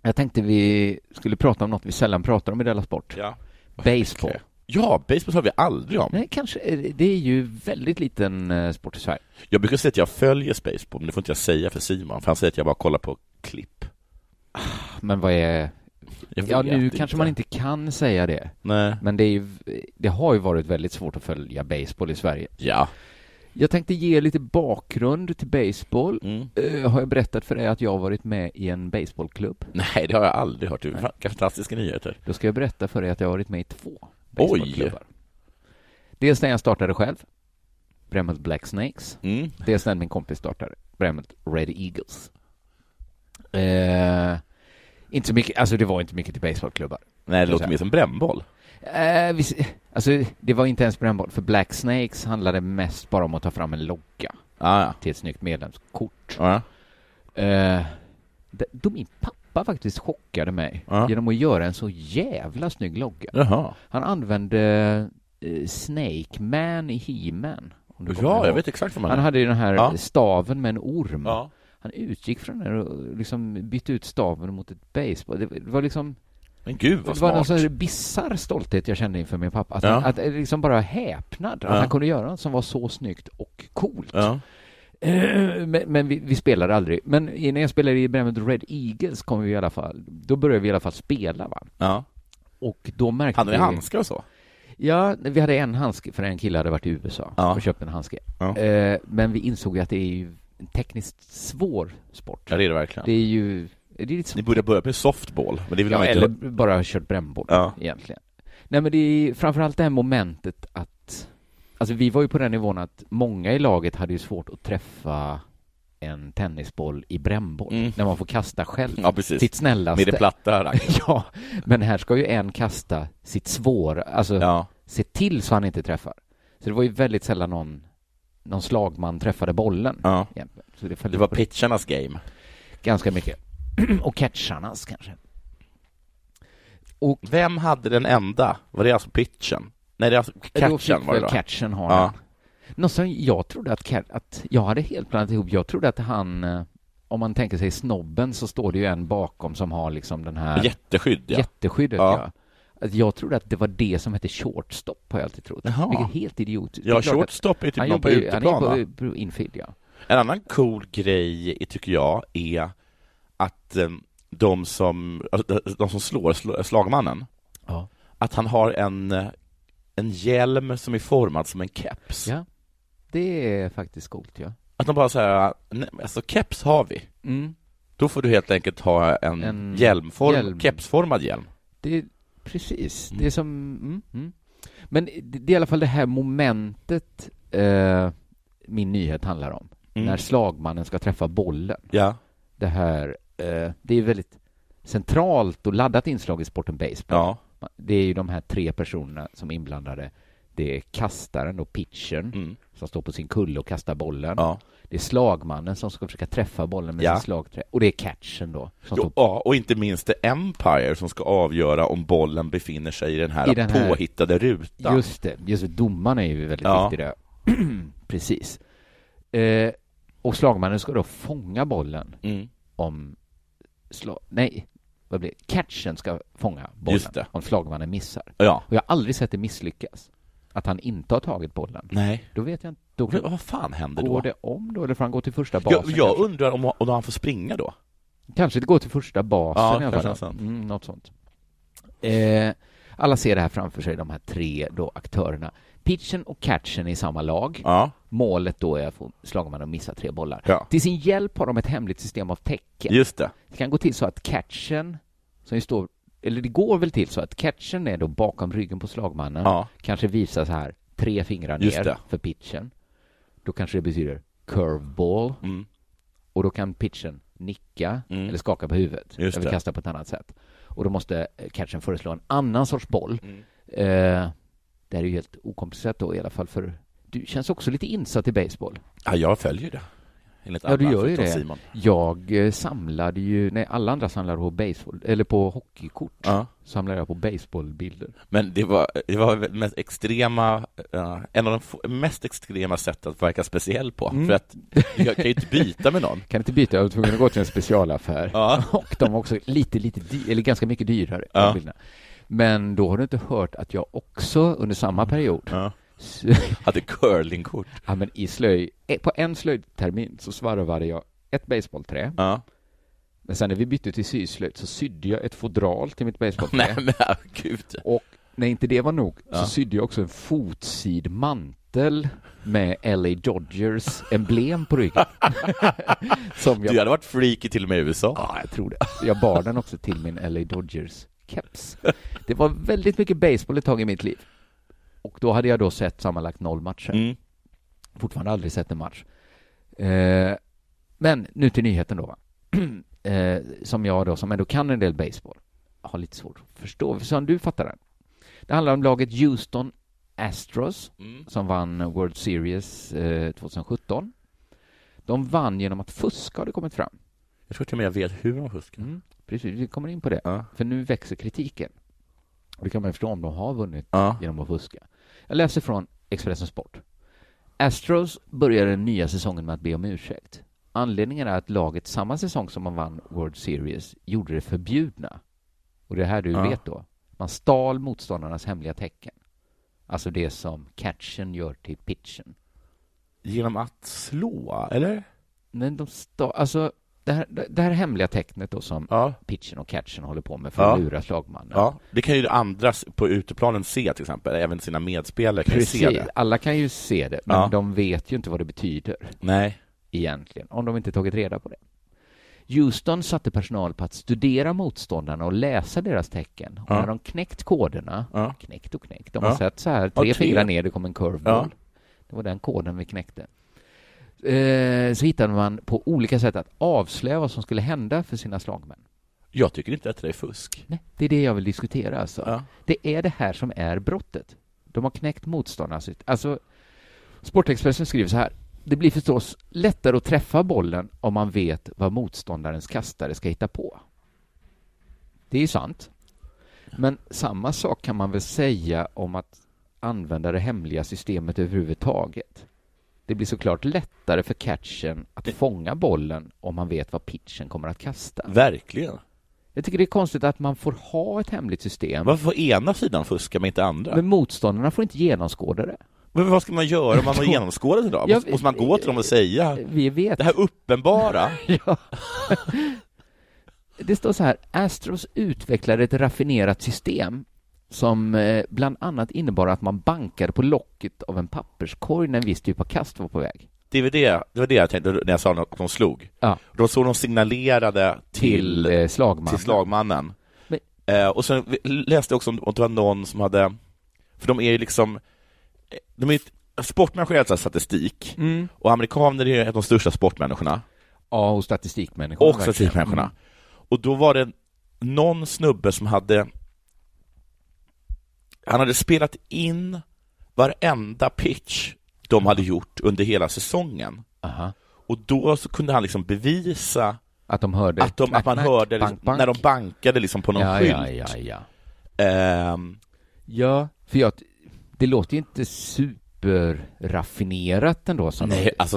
S2: Jag tänkte vi skulle prata om något vi sällan pratar om i Della Sport.
S6: Ja.
S2: Baseball.
S6: Ja, baseball har vi aldrig om.
S2: Nej, kanske. eh, Det är ju väldigt liten eh, sport i Sverige.
S6: Jag brukar säga att jag följer Spaceball, men det får inte jag säga för Simon, för han säger att jag bara kollar på klipp.
S2: Men vad är...
S6: Jag vet
S2: Ja, nu
S6: inte.
S2: kanske man inte kan säga det.
S6: Nej.
S2: Men det, är ju, det har ju varit väldigt svårt att följa baseball i Sverige.
S6: Ja.
S2: Jag tänkte ge lite bakgrund till baseball.
S6: Mm.
S2: Eh, har jag berättat för dig att jag har varit med i en baseballklubb?
S6: Nej, det har jag aldrig hört. Det är fan- Fantastiska nyheter.
S2: Då ska jag berätta för dig att jag har varit med i två
S6: Oj.
S2: baseballklubbar. Dels när jag startade själv, Bremmet Black Snakes.
S6: Mm.
S2: Dels när min kompis startade, Bremmet Red Eagles. Eh, inte så mycket, alltså det var inte mycket till baseballklubbar.
S6: Nej, det låter mer som brännboll.
S2: Eh, vi, alltså, det var inte ens brännbart, för Black Snakes handlade mest bara om att ta fram en logga
S6: Ah, ja.
S2: till ett snyggt medlemskort.
S6: Ja.
S2: Eh, d- då min pappa faktiskt chockade mig
S6: Ja.
S2: genom att göra en så jävla snygg logga.
S6: Jaha.
S2: Han använde eh, Snake Man i He-Man. om du kommer
S6: Ja, jag
S2: ihåg.
S6: vet exakt vad man
S2: Han hade ju den här
S6: Ja.
S2: staven med en orm.
S6: Ja.
S2: Han utgick från den och liksom bytte ut staven mot ett baseball. Det det var liksom
S6: Men gud vad
S2: det var någon
S6: smart.
S2: sån här bisarr stolthet jag kände inför min pappa. Att,
S6: Ja.
S2: han, att det liksom bara häpnad att
S6: Ja.
S2: han kunde göra något som var så snyggt och coolt.
S6: Ja.
S2: Eh, *clears throat* Men, men vi, vi spelade aldrig. Men innan jag spelade i bandet Red Eagles kom vi i alla fall, då började vi i alla fall spela va.
S6: Ja.
S2: Och då märkte
S6: Hade ni
S2: vi-
S6: handskar och så?
S2: Ja, vi hade en handske, för en kille hade varit i USA
S6: Ja.
S2: och köpt en handske.
S6: Ja.
S2: Eh, Men vi insåg ju att det är ju en tekniskt svår sport.
S6: Ja, det är det verkligen.
S2: Det är ju
S6: Ni borde börja med softball, men det vill
S2: ja,
S6: man inte...
S2: eller bara kört brännboll
S6: Ja.
S2: egentligen. Nej, men det är framförallt det här momentet att... Alltså, vi var ju på den nivån att många i laget hade ju svårt att träffa en tennisboll i brännboll, när man får kasta själv.
S6: Mm. Ja, precis.
S2: Sitt snällaste.
S6: Med det platta racket.
S2: *laughs* ja, men här ska ju en kasta sitt svåra, alltså se till så han inte träffar. Så det var ju väldigt sällan någon, någon slagman träffade bollen.
S6: Ja.
S2: egentligen. Så det, föll
S6: Det var
S2: på
S6: pitcharnas game.
S2: Ganska mycket. *clears throat* Och catcharnas kanske.
S6: Vem hade den enda? Var det alltså pitchen? Nej, det är alltså
S2: Då fick
S6: catchen var det
S2: väl
S6: då.
S2: catchen ha
S6: ja.
S2: den. Något som jag trodde att, Cat- att jag hade helt blandat ihop. Jag trodde att han, eh, om man tänker sig snobben så står det ju en bakom som har liksom den här
S6: Jätteskydd, ja.
S2: jätteskyddet.
S6: Ja.
S2: Ja. Att Jag trodde att det var det som hette shortstop har jag alltid trott.
S6: Jaha.
S2: Vilket är helt idiotiskt.
S6: Ja,
S2: Det är klart att-
S6: shortstop är typ
S2: han
S6: någon på
S2: jobbar ju-
S6: uteplan,
S2: Han är
S6: va?
S2: ju på, på infield, ja.
S6: En annan cool grej, är- tycker jag, är att eh, de som, alltså, de som slår sl- slagmannen,
S2: Ja.
S6: att han har en, eh, en hjälm som är formad som en keps.
S2: Ja. Det är faktiskt coolt, ja.
S6: Att de bara säger, nej, men alltså keps har vi.
S2: Mm.
S6: Då får du helt enkelt ha en,
S2: En
S6: hjälmform,
S2: hjälm.
S6: kepsformad hjälm.
S2: Det är, precis, det är som... Mm, mm. Men det, det är i alla fall det här momentet eh, min nyhet handlar om.
S6: Mm.
S2: När slagmannen ska träffa bollen.
S6: Ja.
S2: Det här, eh, det är väldigt centralt och laddat inslag i sporten baseball. Det är ju de här tre personerna som är inblandade. Det är kastaren och pitchern
S6: Mm.
S2: som står på sin kulle och kastar bollen. Det är slagmannen som ska försöka träffa bollen med
S6: Ja.
S2: sin slagträ. Och det är catchen då. Som står
S6: Jo, ja, och inte minst The Empire som ska avgöra om bollen befinner sig i den här,
S2: I den här-
S6: påhittade rutan.
S2: Just det, just det. Domaren är ju väldigt
S6: Ja.
S2: viktig där. *clears throat* Precis. Eh, och slagmannen ska då fånga bollen
S6: Mm.
S2: om... Sla- nej, vad blir det? Catchen ska fånga bollen
S6: Just det.
S2: om slagmannen missar.
S6: Ja.
S2: Och jag har aldrig sett det misslyckas. Att han inte har tagit bollen.
S6: Nej.
S2: Då vet jag inte. Då,
S6: Men vad fan händer då?
S2: Går det om då, eller får han gå till första basen?
S6: Jag, jag
S2: kanske?
S6: undrar om, om han får springa då?
S2: Kanske det går till första basen
S6: Ja,
S2: i alla
S6: kanske
S2: fall. Mm, något sånt. Eh, alla ser det här framför sig, de här tre då aktörerna. Pitchen och catchen är i samma lag. Målet då är att få slagmannen att missa tre bollar.
S6: Ja.
S2: Till sin hjälp har de ett hemligt system av tecken.
S6: Just det.
S2: Det kan gå till så att catchen, som ju står, eller det går väl till så att catchen är då bakom ryggen på slagmannen, kanske visar så här tre fingrar
S6: Just
S2: ner
S6: det.
S2: för pitchen. Då kanske det betyder curveball.
S6: Mm.
S2: Och då kan pitchen nicka eller skaka på huvudet.
S6: Just
S2: eller
S6: det.
S2: kasta på ett annat sätt. Och då måste eh, catchen föreslå en annan sorts boll.
S6: Mm.
S2: Eh, det här är ju helt okomplicerat då i alla fall för du känns också lite insatt i baseball.
S6: Ja, jag följer det. Enligt
S2: Ja, du
S6: alla
S2: gör ju
S6: förutom
S2: det.
S6: Simon.
S2: Jag eh, samlade ju, nej, alla andra samlade på baseball, eller på hockeykort.
S6: Ja.
S2: Samlade jag på baseballbilder.
S6: Men det var, det var väl mest extrema, eh, en av de få- mest extrema sätt att verka speciell på.
S2: Mm.
S6: För att jag kan ju inte byta med någon.
S2: Kan inte byta, jag var tvungen att gå till en specialaffär.
S6: Ja.
S2: Och de var också lite, lite, dy- eller ganska mycket dyrare. de
S6: Ja.
S2: bilderna. Men då har du inte hört att jag också under samma period
S6: hade curlingkort.
S2: *laughs* Ja, men i slöj, eh, på en slöjdtermin så svarvade jag ett baseballträ. Men sen när vi bytte till syslöjd så sydde jag ett fodral till mitt baseballträ.
S6: Nej, men gud.
S2: Och när inte det var nog
S6: Ja.
S2: så sydde jag också en fotsid mantel med LA Dodgers emblem på ryggen. Som jag,
S6: Du hade varit freaky till och med i USA.
S2: Ja, jag tror det. jag bar den också till min LA Dodgers keps. Det var väldigt mycket baseball ett tag i mitt liv. Och då hade jag då sett sammanlagt noll matcher. Fortfarande aldrig sett en match. Eh, men nu till nyheten då. Va? *clears throat* eh, som jag då, som ändå kan en del baseball har lite svårt att förstå. Som du fattar den. Det handlar om laget Houston Astros som vann World Series eh, 2017. De vann genom att fuska har det kommit fram.
S6: Jag tror till och med jag vet hur de fuskar.
S2: Mm, precis, vi kommer in på det. För nu växer kritiken. Och det kan man ju förstå om de har vunnit genom att fuska. Jag läser från Expressen Sport. Astros börjar den nya säsongen med att be om ursäkt. Anledningen är att laget samma säsong som man vann World Series gjorde det förbjudna. Och det är här du
S6: Ja.
S2: vet då. Man stal motståndarnas hemliga tecken. Alltså det som catchen gör till pitchen.
S6: Genom att slå, eller?
S2: Men de sta- alltså det här, det här hemliga tecknet då som pitchen och catchen håller på med för att
S6: Ja.
S2: lura slagmannen.
S6: Ja, det kan ju andra s- på uteplanen se till exempel, även sina medspelare kan ju se
S2: Precis.
S6: det.
S2: Alla kan ju se det, men
S6: Ja.
S2: de vet ju inte vad det betyder.
S6: Nej.
S2: Egentligen, om de inte tagit reda på det. Houston satte personal på att studera motståndarna och läsa deras tecken. Och
S6: Ja.
S2: när de knäckt koderna, knäckt och knäckt, de har
S6: Ja.
S2: sett så här,
S6: Ja,
S2: tre
S6: tre.
S2: fingrar ner, det kom en curveball.
S6: Ja.
S2: Det var den koden vi knäckte. Eh, så hittade man på olika sätt att avslöja vad som skulle hända för sina slagmän.
S6: Jag tycker inte att det är fusk.
S2: Nej, det är det jag vill diskutera. Alltså. Det är det här som är brottet. De har knäckt motståndarna. sitt- Alltså, Sportexpressen skriver så här. Det blir förstås lättare att träffa bollen om man vet vad motståndarens kastare ska hitta på. Det är ju sant. Men samma sak kan man väl säga om att använda det hemliga systemet överhuvudtaget. Det blir såklart lättare för catchen att fånga bollen om man vet vad pitchen kommer att kasta.
S6: Verkligen.
S2: Jag tycker det är konstigt att man får ha ett hemligt system.
S6: Varför får ena sidan fuska men inte andra?
S2: Men motståndarna får inte genomskåda det.
S6: Men vad ska man göra
S2: *laughs*
S6: om man har
S2: Då-
S6: genomskådat det då?
S2: Ja,
S6: Måste man gå till dem och säga?
S2: Vi vet.
S6: Det
S2: *laughs*
S6: här uppenbara?
S2: Det står så här, Astros utvecklade ett raffinerat system som eh, bland annat innebar att man bankade på locket av en papperskorg när en viss typ av kast var på väg.
S6: Det var det, det var det jag tänkte när jag sa att de slog.
S2: Ja.
S6: Då såg de signalerade till,
S2: Till, eh, slagmannen.
S6: Till slagmannen.
S2: Men-
S6: Eh, och sen vi- läste jag också om om det var någon som hade, för de är ju liksom, eh, de är ju ett- sportmänniskor är alltså statistik,
S2: Mm.
S6: och amerikaner är ju de största sportmänniskorna.
S2: Ja, och statistikmänniskorna.
S6: Och statistikmänniskorna. Mm. Och då var det någon snubbe som hade Han hade spelat in varenda pitch de hade gjort under hela säsongen. Och då så kunde han liksom bevisa
S2: att, de hörde
S6: att,
S2: knack,
S6: man
S2: knack,
S6: hörde
S2: bank,
S6: liksom,
S2: bank.
S6: när de bankade liksom på någon
S2: Ja,
S6: skylt.
S2: ja, ja, ja.
S6: Ehm,
S2: Ja, för jag, det låter ju inte superraffinerat ändå. Som
S6: Nej, alltså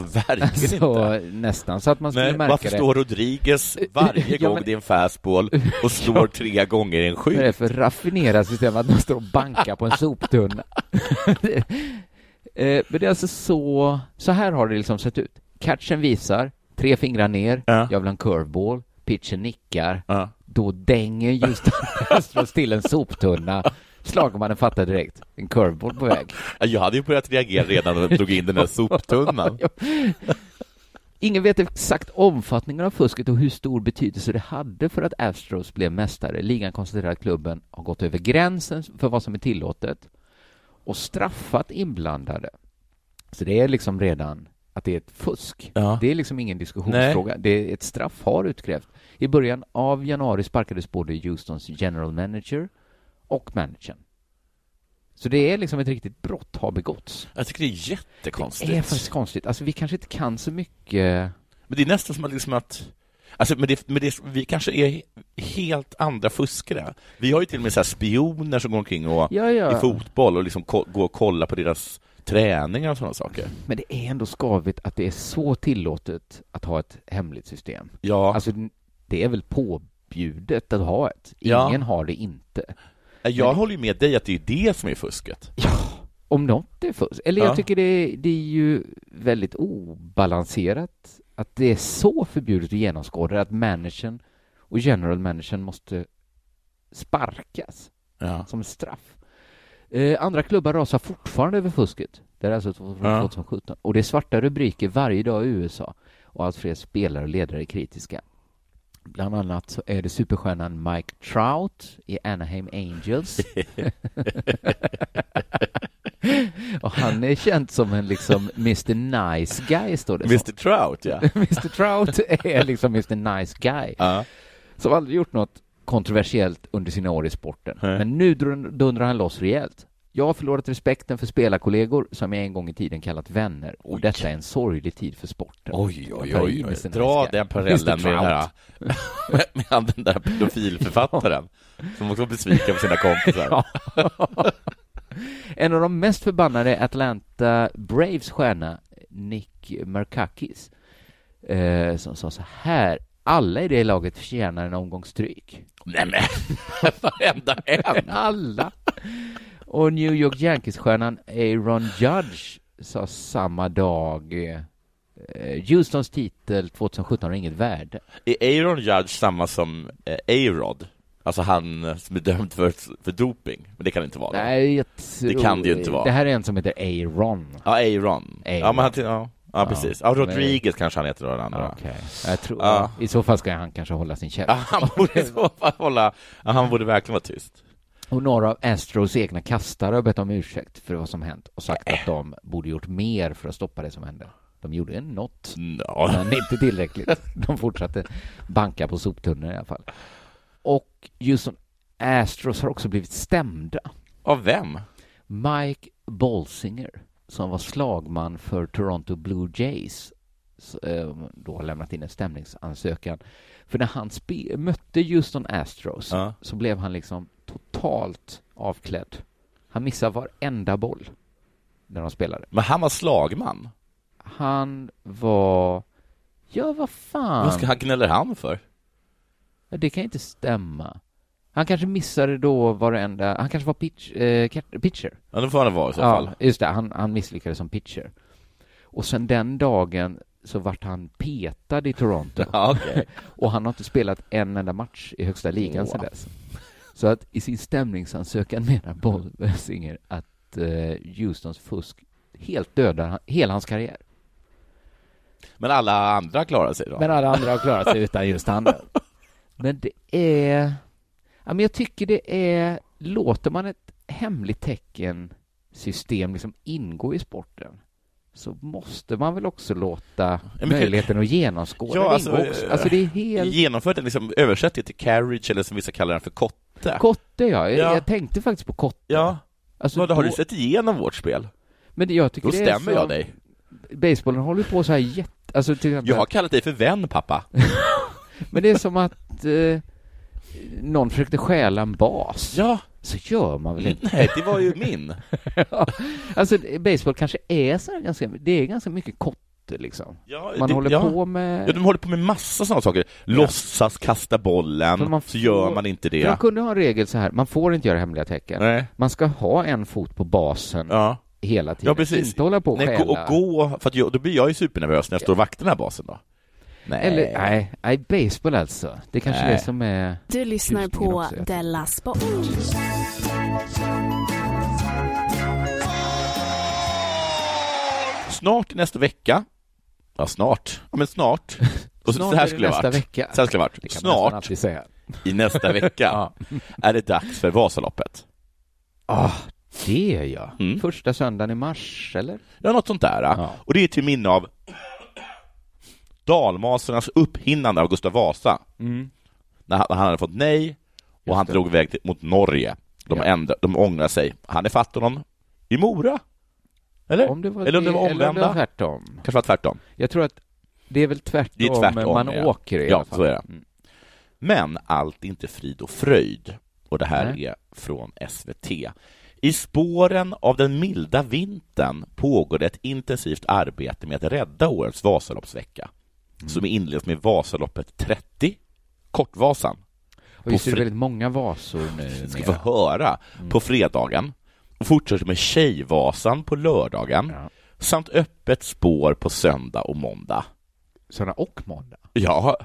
S2: *laughs*
S6: verkligen
S2: inte. Nästan så att man skulle
S6: men
S2: märka
S6: varför
S2: det.
S6: står Rodriguez varje
S2: *laughs* Ja,
S6: gång
S2: men-
S6: det är en fastball
S2: *laughs*
S6: och slår
S2: Ja.
S6: tre gånger i en
S2: Vad är det
S6: skylt?
S2: för raffinerat system att man står och bankar på en soptunna? *laughs* Eh, Men det är alltså så, så här har det liksom sett ut. Catchen visar, tre fingrar ner, jag vill ha en curveball, pitchen nickar, då dänger just *laughs* Astros till en soptunna, slagmannen fattar direkt, en curveball på väg.
S6: Jag hade ju börjat reagera redan när de drog in
S2: *laughs*
S6: den där soptunnan.
S2: Ingen vet exakt omfattningen av fusket och hur stor betydelse det hade för att Astros blev mästare. Ligan konstaterar att klubben har gått över gränsen för vad som är tillåtet och straffat inblandade. Så det är liksom redan att det är ett fusk. Det är liksom ingen diskussionsfråga. Det är ett straff har utkrävt. I början av januari sparkades både Houstons general manager och managern. Så det är liksom ett riktigt brott har begåtts.
S6: Jag tycker det är jättekonstigt.
S2: Det är faktiskt konstigt. Alltså vi kanske inte kan så mycket
S6: Men det är nästan som att, liksom att Alltså, men det, men det, vi kanske är helt andra fuskare. Vi har ju till och med så här spioner som går omkring och,
S2: Ja, ja.
S6: i fotboll och liksom ko- går och kollar på deras träningar och sådana saker.
S2: Men det är ändå skavigt att det är så tillåtet att ha ett hemligt system.
S6: Ja.
S2: Alltså, det är väl påbjudet att ha ett.
S6: Ja.
S2: Ingen har det inte.
S6: Jag
S2: Men-
S6: håller ju med dig att det är det som är fusket.
S2: Om något är fusk. Eller jag
S6: Ja.
S2: tycker det, det är ju väldigt obalanserat att det är så förbjudet att genomskåda att managern och general managern måste sparkas som straff. Eh, andra klubbar rasar fortfarande över fusket. Det är alltså från
S6: Ja.
S2: 2017. Och det är svarta rubriker varje dag i USA. Och allt fler spelare och ledare är kritiska. Bland annat så är det superstjärnan Mike Trout i Anaheim Angels. och han är känd som en liksom Mr Nice Guy, står det
S6: Mr
S2: *laughs*
S6: Trout, ja.
S2: Mr Trout är liksom Mr Nice Guy. Som aldrig gjort något kontroversiellt under sina år i sporten. Men nu dun- dundrar han loss rejält. Jag har förlorat respekten för spelarkollegor som jag en gång i tiden kallat vänner och detta är en sorglig tid för sporten.
S6: Oj, oj,
S2: Jag tar i
S6: oj,
S2: Mr.
S6: oj.
S2: Nice
S6: Dra
S2: Guy.
S6: den parallellen
S2: Mr.
S6: med, den där,
S2: Trout.
S6: *laughs* med, med den där pedofilförfattaren som också var besviken på sina *laughs* kompisar.
S2: Ja. en av de mest förbannade är Atlanta Braves stjärna Nick Merkakis eh, som sa så här alla i det laget förtjänar en omgång stryk.
S6: Nej men, *laughs* varenda en!
S2: Alla! Och New York Yankees-stjärnan Aaron Judge sa samma dag eh, Houstons titel 2017 har inget värde.
S6: Är Aaron Judge samma som eh, A-Rod? Alltså han som är dömd för, för doping? Men det kan det inte vara.
S2: Nej, jag
S6: det
S2: tror-
S6: kan det ju inte vara.
S2: Det här är en som heter Aaron.
S6: Ja, Aaron. Ja, men han, ja. Ja, precis. Ja, Rodriguez kanske han heter då, den andra.
S2: Okej. Jag tror,
S6: Ja.
S2: I så fall ska han kanske hålla sin käft.
S6: Ja, han borde i så fall hålla, ja, han borde verkligen vara tyst.
S2: Och några av Astros egna kastare har bett om ursäkt för vad som hänt och
S6: Äh.
S2: sagt att de borde gjort mer för att stoppa det som hände. De gjorde en något, men inte
S6: *laughs*
S2: tillräckligt. De fortsatte banka på soptunnor i alla fall. Och Houston Astros har också blivit stämda.
S6: Av vem?
S2: Mike Bolsinger, som var slagman för Toronto Blue Jays, s- eh, då har lämnat in en stämningsansökan. För när han spe- mötte Houston Astros
S6: Ja.
S2: så blev han liksom totalt avklädd. Han missade varenda boll när de spelade.
S6: Men han var slagman?
S2: Han var... Ja, vad fan.
S6: Vad ska han gnäller han för?
S2: Ja, Det kan inte stämma. Han kanske missade då varenda... Han kanske var pitch, eh, cat- pitcher.
S6: Ja, det får han vara i så fall.
S2: Ja, just det. Han, han misslyckades som pitcher. Och sen den dagen så vart han petad i Toronto.
S6: *laughs* Ja, okej.
S2: och han har inte spelat en enda match i högsta ligan sedan
S6: Wow.
S2: dess. Så att i sin stämningsansökan menar Bolsinger att eh, Houstons fusk helt dödar han- hela hans karriär.
S6: Men alla andra klarar sig då?
S2: Men alla andra har klarat sig utan just han. Men det är... Ja, men jag tycker det är... Låter man ett hemligt teckensystem liksom ingå i sporten så måste man väl också låta
S6: men-
S2: möjligheten att genomskåda det ingå också. Alltså det är helt...
S6: Genomfört den liksom, översätt det till carriage eller som vissa kallar den för kotte.
S2: Kotte, ja. Jag,
S6: Ja.
S2: jag tänkte faktiskt på kotte.
S6: Ja.
S2: Alltså,
S6: Vad, har
S2: då-
S6: du sett igenom vårt spel?
S2: Men det- jag tycker
S6: Då
S2: det är
S6: stämmer
S2: så-
S6: jag dig.
S2: Basebollen håller på så här jätte... Alltså till exempel...
S6: Jag har kallat dig för vän, pappa.
S2: Men det är som att eh, någon försökte stjäla en bas.
S6: Ja.
S2: Så gör man väl inte?
S6: Mm. Nej, det var ju min.
S2: ja. Alltså, baseball kanske är så här ganska, det är ganska mycket kotte liksom.
S6: Ja,
S2: man
S6: det-
S2: håller
S6: ja.
S2: på med...
S6: Ja, de håller på med massa sådana saker. Låtsas kasta
S2: För
S6: bollen,
S2: man
S6: så gör
S2: får-
S6: man inte
S2: För De
S6: det.
S2: kunde ha en regel så här, man får inte göra hemliga tecken.
S6: Nej.
S2: Man ska ha en fot på basen hela tiden.
S6: Ja, precis.
S2: Inte hålla på och
S6: Nej,
S2: stjäla.
S6: gå- och gå, för att jag, då blir jag ju supernervös när jag står och vaktar den här basen då. Nej.
S2: Eller, nej, nej, baseball alltså. Det är kanske
S6: Nej.
S2: det som är...
S5: Du lyssnar
S2: tjusningen
S5: på
S2: också.
S5: Della Sport.
S6: Snart i nästa vecka. Ja, snart. Ja, men snart. Och så,
S2: Snart
S6: så här
S2: är det
S6: skulle det ha
S2: nästa
S6: varit.
S2: vecka.
S6: Så här skulle det ha
S2: Det
S6: varit.
S2: kan man nästan
S6: Snart
S2: alltid säga.
S6: i nästa
S2: *laughs*
S6: vecka är det dags för Vasaloppet.
S2: Ah, det ja.
S6: Mm.
S2: Första söndagen i mars, eller?
S6: Ja, något sånt där. Och det är till minne av dalmasarnas upphinnande av Gustav Vasa.
S2: Mm.
S6: När han, när han hade fått nej och han drog iväg till, mot Norge. De,
S2: Ja.
S6: ändra, de ångrar sig. Han är fatt honom i Mora. Eller?
S2: Om det var
S6: eller om det var
S2: eller
S6: omvända.
S2: var tvärtom.
S6: Kanske var tvärtom.
S2: Jag tror att det är väl tvärtom,
S6: Det är tvärtom.
S2: man
S6: ja.
S2: åker i
S6: Ja,
S2: alla fall. Mm.
S6: så är det. Men allt är inte frid och fröjd. Och det här
S2: Nej.
S6: är från SVT. I spåren av den milda vintern pågår det ett intensivt arbete med att rädda årets Vasaloppsvecka
S2: Mm.
S6: som inleds med Vasaloppet 30, Kortvasan.
S2: Och just det
S6: På
S2: är
S6: fre-
S2: väldigt många vasor nu.
S6: ska
S2: med. Mm.
S6: få höra på fredagen och fortsätter med Tjejvasan på lördagen samt öppet spår på söndag och måndag.
S2: Söndag och måndag?
S6: Ja,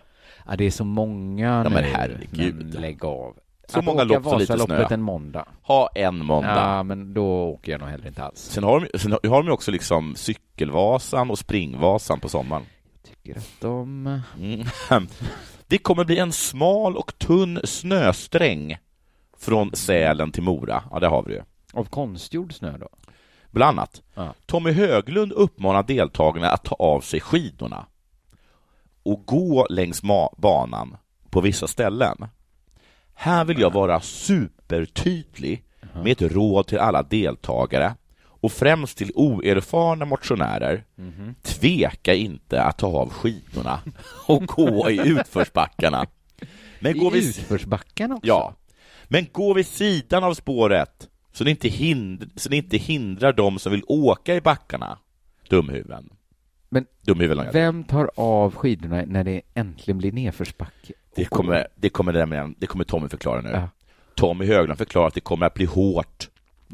S2: Ja, det är så många
S6: Ja,
S2: nu.
S6: men herregud.
S2: Men lägg av.
S6: Så
S2: att
S6: många
S2: åka
S6: lopp, så lite
S2: Vasaloppet
S6: snö.
S2: en måndag.
S6: ha en måndag.
S2: Ja, men då åker jag nog hellre inte alls.
S6: Sen har de, sen har de ju också liksom cykelvasan och springvasan på sommaren.
S2: Tycker att de...
S6: Mm. Det kommer bli en smal och tunn snösträng från Sälen till Mora. Ja, det har vi ju.
S2: Av konstgjord snö då?
S6: Bland annat.
S2: Ja.
S6: Tommy Höglund uppmanar deltagarna att ta av sig skidorna och gå längs ma- banan på vissa ställen. Här vill jag vara supertydlig med ett råd till alla deltagare och främst till oerfarna motionärer.
S2: Mhm.
S6: Tveka inte att ta av skidorna och gå i utförsbackarna. Men
S2: I
S6: vid-
S2: utförsbacken också?
S6: Ja. Men gå vid sidan av spåret så det inte, hind- så det inte hindrar de som vill åka i backarna. Dumhuvuden.
S2: Men
S6: Dumhuvuden har jag.
S2: vem tar av skidorna när det äntligen blir nedförsbacke?
S6: det kommer, det, kommer nämligen, det kommer Tommy förklara nu.
S2: Ja.
S6: Tommy Höglund förklarar att det kommer att bli hårt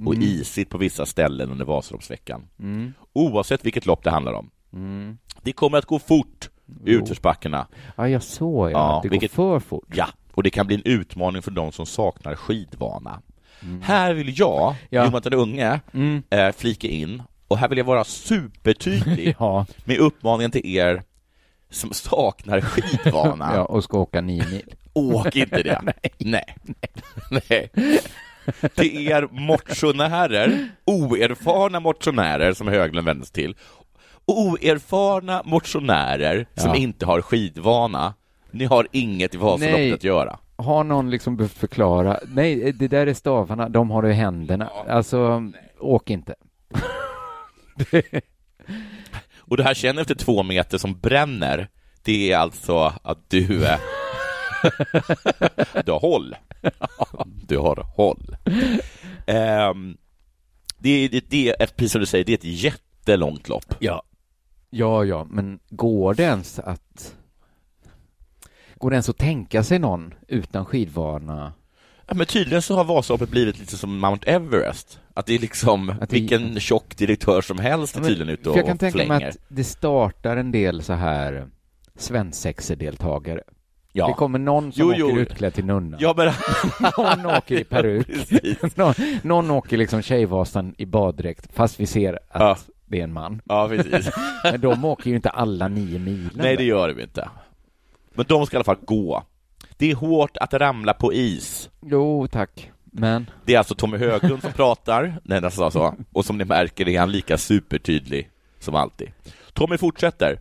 S6: och
S2: Mm.
S6: isigt på vissa ställen under Vasaloppsveckan.
S2: Mm.
S6: Oavsett vilket lopp det handlar om.
S2: Mm.
S6: Det kommer att gå fort i utförsbackarna.
S2: Ja, jag såg ja.
S6: Ja,
S2: att det
S6: vilket-
S2: går för fort.
S6: Ja, och det kan bli en utmaning för de som saknar
S2: Mm.
S6: skidvana. Här vill jag, Jonathan Unge, eh, flika in Och här vill jag
S2: *laughs*
S6: vara supertydlig med uppmaningen till er som saknar skidvana.
S2: *laughs* Ja, och ska åka nio mil.
S6: Åk
S2: *laughs*
S6: inte det. Nej. Nej. Till er motionärer, oerfarna motionärer som Höglund vänder sig till, oerfarna motionärer som
S2: Ja.
S6: inte har skidvana, ni har inget i Vasaloppet att göra.
S2: Har någon liksom behövt förklara? Nej, det där är stavarna, de har du i händerna. Alltså, åk inte.
S6: Och det här känner efter två meter som bränner, det är alltså att du är... du
S2: *laughs*
S6: har håll. Du har håll. Ehm, det, är, det, det är, ett- precis som du säger, det är ett jättelångt lopp.
S2: Ja. Ja, ja, men går det ens att... Går det ens att tänka sig någon utan skidvana?
S6: Ja, men tydligen så har Vasaloppet blivit lite som Mount Everest. Att det är liksom vilken tjock direktör som helst är
S2: Ja, men-
S6: tydligen ute
S2: för
S6: och
S2: jag kan tänka mig
S6: flänger.
S2: att det startar en del så här svensexer-deltagare.
S6: Ja.
S2: Det kommer någon som
S6: Jo,
S2: åker
S6: jo.
S2: utklädd till nunna.
S6: Ja, men...
S2: *laughs* någon
S6: *laughs*
S2: åker i peruk. någon, någon åker liksom Tjejvasan i baddräkt, fast vi ser att det är en man.
S6: Ja, precis.
S2: men de åker ju inte alla nio milen.
S6: Nej, det gör de inte. Men de ska i alla fall gå. Det är hårt att ramla på is.
S2: Jo, tack. Men...
S6: Det är alltså Tommy Höglund som pratar, *laughs* när han sa så. Och som ni märker är han lika supertydlig som alltid. Tommy fortsätter.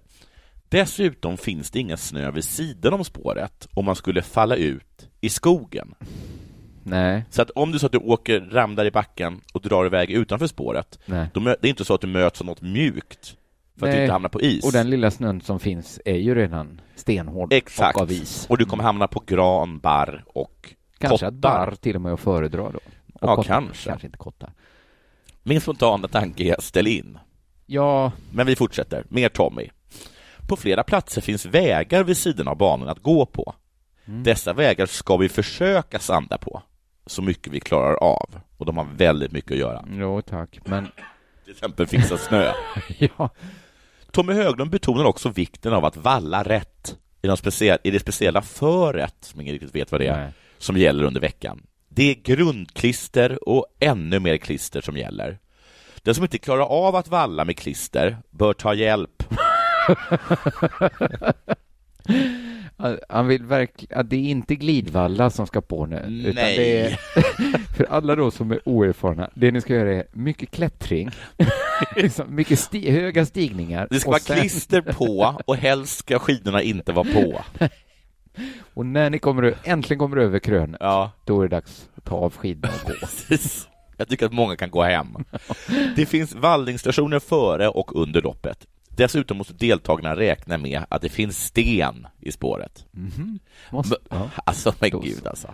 S6: Dessutom finns det ingen snö vid sidan om spåret om man skulle falla ut i skogen.
S2: Nej.
S6: Så att om du så att du åker, ramlar i backen och drar iväg utanför spåret,
S2: Nej.
S6: då mö- det är inte så att du möts av något mjukt för att
S2: Nej.
S6: du inte hamnar på is.
S2: Och den lilla snön som finns är ju redan stenhård
S6: Exakt.
S2: och av is. Mm.
S6: Och du kommer hamna på gran, barr och
S2: Kanske att
S6: kottar.
S2: barr till och med att föredra då. Och
S6: Ja,
S2: kottar.
S6: kanske.
S2: Kanske inte kottar.
S6: Min spontana tanke är ställ in.
S2: Ja,
S6: Men vi fortsätter. Mer Tommy. På flera platser finns vägar vid sidan av banan att gå på.
S2: Mm.
S6: Dessa vägar ska vi försöka sanda på så mycket vi klarar av. Och de har väldigt mycket att göra.
S2: Jo, tack. Men... *laughs*
S6: Till exempel fixa snö.
S2: ja.
S6: Tommy Höglund betonar också vikten av att valla rätt i, de specie- i det speciella föret, som ingen riktigt vet vad det är,
S2: Nej.
S6: som gäller under veckan. Det är grundklister och ännu mer klister som gäller. Den som inte klarar av att valla med klister bör ta hjälp.
S2: Han vill verkligen, att det är inte glidvalla som ska på nu. *laughs* Utan
S6: Nej.
S2: det är, för alla då som är oerfarna, det ni ska göra är mycket klättring, *laughs* liksom mycket sti, höga stigningar.
S6: Det ska
S2: och
S6: vara
S2: sen-
S6: klister på och helst ska skidorna inte vara
S2: *laughs*
S6: på.
S2: Och när ni kommer, ö- äntligen kommer över krönet,
S6: ja.
S2: då är det dags att ta av skidorna och
S6: *laughs*
S2: gå.
S6: Precis. Jag tycker att många kan gå hem. Det finns vallningsstationer före och under loppet. Dessutom måste deltagarna räkna med att det finns sten i spåret.
S2: Mhm. Måste,
S6: Men-
S2: ja.
S6: Alltså, men
S2: Då så.
S6: gud alltså.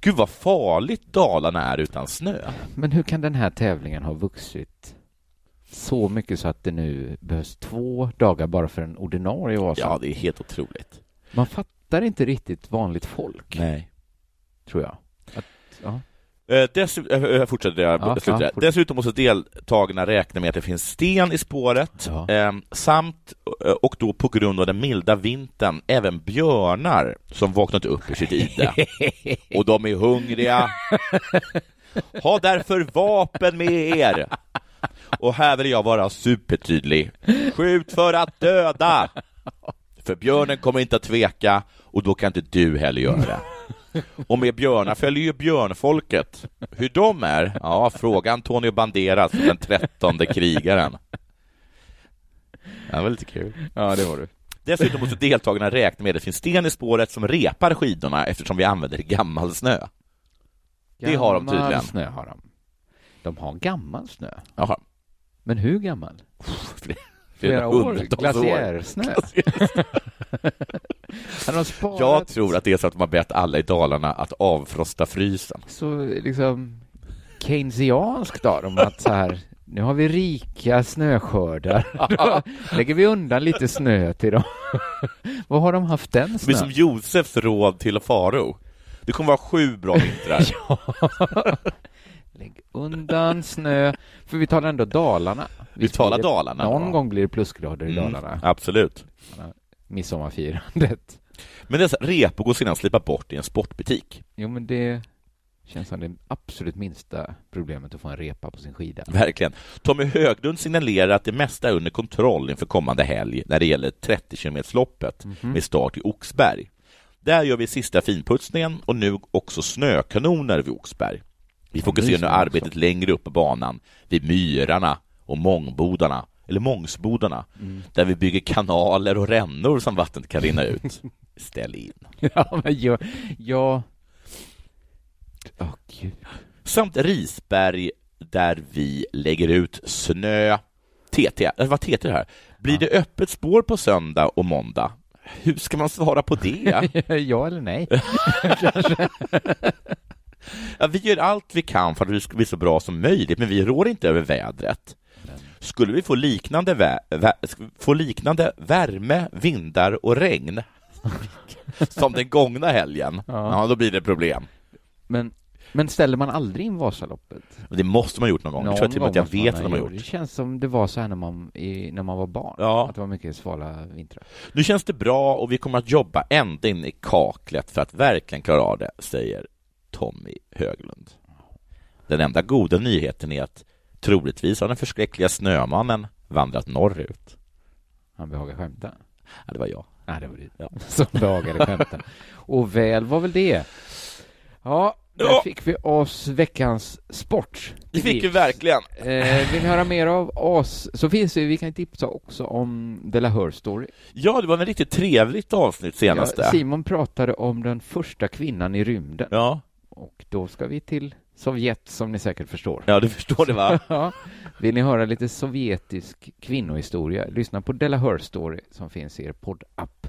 S6: Gud vad farligt Dalarna är utan snö.
S2: Men hur kan den här tävlingen ha vuxit så mycket så att det nu behövs två dagar bara för en ordinarie Vasa?
S6: Ja, det är helt otroligt.
S2: Man fattar inte riktigt vanligt folk,
S6: Nej.
S2: tror jag. Att, ja.
S6: Eh, Dessutom, eh, eh, fortsätter jag,
S2: Ja, ja,
S6: slutar jag.
S2: fortsätt.
S6: Dessutom måste deltagarna räkna med att det finns sten i spåret eh, samt, eh, och då på grund av den milda vintern, även björnar som vaknat upp ur sitt ide. och de är hungriga. Ha därför vapen med er! Och här vill jag vara supertydlig. Skjut för att döda! För björnen kommer inte att tveka och då kan inte du heller göra det. Och med björnar följer ju björnfolket. Hur de är? Ja, fråga Antonio Banderas, den trettonde krigaren. Det var lite kul.
S2: Ja, det var du.
S6: Dessutom måste deltagarna räkna med att det finns sten i spåret som repar skidorna eftersom vi använder gammal snö. Det har de
S2: Gammal
S6: tydligen.
S2: snö har de. De har gammal snö.
S6: Jaha.
S2: Men hur gammal?
S6: flera
S2: år?
S6: hundratals
S2: Glaciärsnö? *laughs* Hade de sparat
S6: Jag tror att det är så att de har bett alla i Dalarna att avfrosta frysen.
S2: så liksom keynesianskt av dem att så här, nu har vi rika
S6: *laughs*
S2: snöskördar. Då lägger vi undan lite snö till dem. *laughs* Vad har de haft den
S6: Det blir som
S2: snön?
S6: Josefs råd till Faro. Det kommer vara sju bra vintrar.
S2: Lägg undan snö, för vi talar ändå Dalarna. Vi
S6: talar Dalarna,
S2: Någon
S6: ja.
S2: gång blir det plusgrader i
S6: Mm,
S2: Dalarna.
S6: absolut.
S2: Midsommarfirandet.
S6: Men dessa repor går sedan att slipa bort i en sportbutik.
S2: Jo, men det Känns som det absolut minsta problemet att få en repa på sin
S6: *laughs*
S2: skida.
S6: Verkligen. Tommy Höglund signalerar att det mesta är under kontroll inför kommande helg när det gäller 30 kilometersloppet
S2: Mhm.
S6: med start i Oxberg. Där gör vi sista finputsningen och nu också snökanoner vid Oxberg. Vi fokuserar nu
S2: myser också.
S6: arbetet längre upp på banan, vid myrarna och mångbodarna, eller mångsbodarna,
S2: Mm.
S6: där vi bygger kanaler och rännor som vattnet kan rinna
S2: *laughs*
S6: ut. Ställ in.
S2: ja, men jag... jag...
S6: Samt Risberg där vi lägger ut snö. äh, TT, det var TT det här. Blir det öppet spår på söndag och måndag? Hur ska man svara
S2: *laughs*
S6: på det?
S2: *laughs* ja eller nej?
S6: ja, vi gör allt vi kan för att det ska bli så bra som möjligt, men vi rår inte över vädret. Skulle vi få liknande, vä- vä- få liknande värme, vindar
S2: *laughs*
S6: och regn som den gångna helgen, ja.
S2: Ja.
S6: då blir det problem.
S2: Men, men ställer man aldrig in Vasaloppet?
S6: Det måste man ha gjort någon gång. jag tror till och med
S2: Någon
S6: att jag
S2: gång
S6: vet
S2: måste
S6: vad
S2: man
S6: de har
S2: Det känns som det var så här när man, i, när man var barn. Att det var mycket svala vintrar.
S6: Nu känns det bra och vi kommer att jobba ända in i kaklet för att verkligen klara av det, säger Tommy Höglund. Den enda goda nyheten är att troligtvis har den förskräckliga snömannen vandrat norrut.
S2: Han behagar skämta.
S6: Ja, det var jag.
S2: Nej, det var du *laughs* som behagade skämta. Och väl var väl det. Ja, där fick vi oss veckans sport.
S6: Det fick vi verkligen.
S2: Eh, vill ni höra mer av oss så finns det, ju- vi kan tipsa också om The Lahore Story.
S6: Ja, det var en riktigt trevligt avsnitt senaste.
S2: Ja, Simon pratade om den första kvinnan i rymden.
S6: Ja.
S2: Och då ska vi till Sovjet som ni säkert förstår.
S6: Ja, du förstår det, *laughs* va?
S2: *laughs* ja. Vill ni höra lite sovjetisk kvinnohistoria? Lyssna på Delahör Story som finns i er poddapp.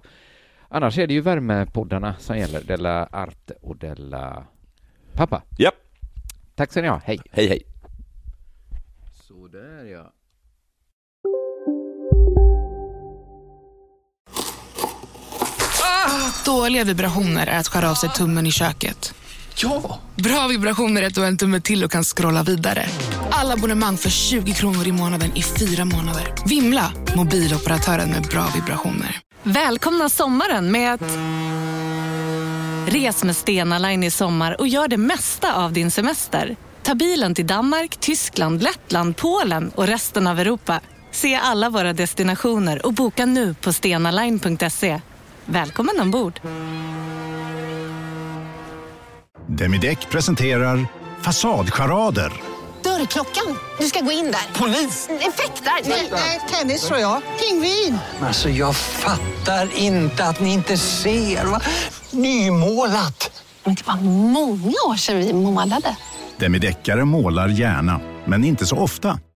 S2: Annars är det ju värmepoddarna som gäller, Della Arte och Della Pappa.
S6: Japp.
S2: Tack ska ni ha, hej.
S6: Hej, hej.
S2: Sådär ja.
S12: Dåliga vibrationer är att skära av sig tummen i köket. Ja! Bra vibrationer är att du har en tumme till och kan scrolla vidare. Alla abonnemang för 20 kronor i månaden i fyra månader. Vimla! Mobiloperatören med bra vibrationer.
S13: Välkomna sommaren med att... Res med Stena Line i sommar och gör det mesta av din semester. Ta bilen till Danmark, Tyskland, Lettland, Polen och resten av Europa. Se alla våra destinationer och boka nu på stenaline.se. Välkommen ombord!
S14: Demideck presenterar Fasadcharader.
S15: Dörrklockan. Du ska gå in där. Polis? Effektar? Nej, tennis tror jag. Pingvin.
S16: Alltså jag fattar inte att ni inte ser. Va? Nymålat!
S15: Men det var många år sedan vi målade.
S14: Demideckare målar gärna, men inte så ofta.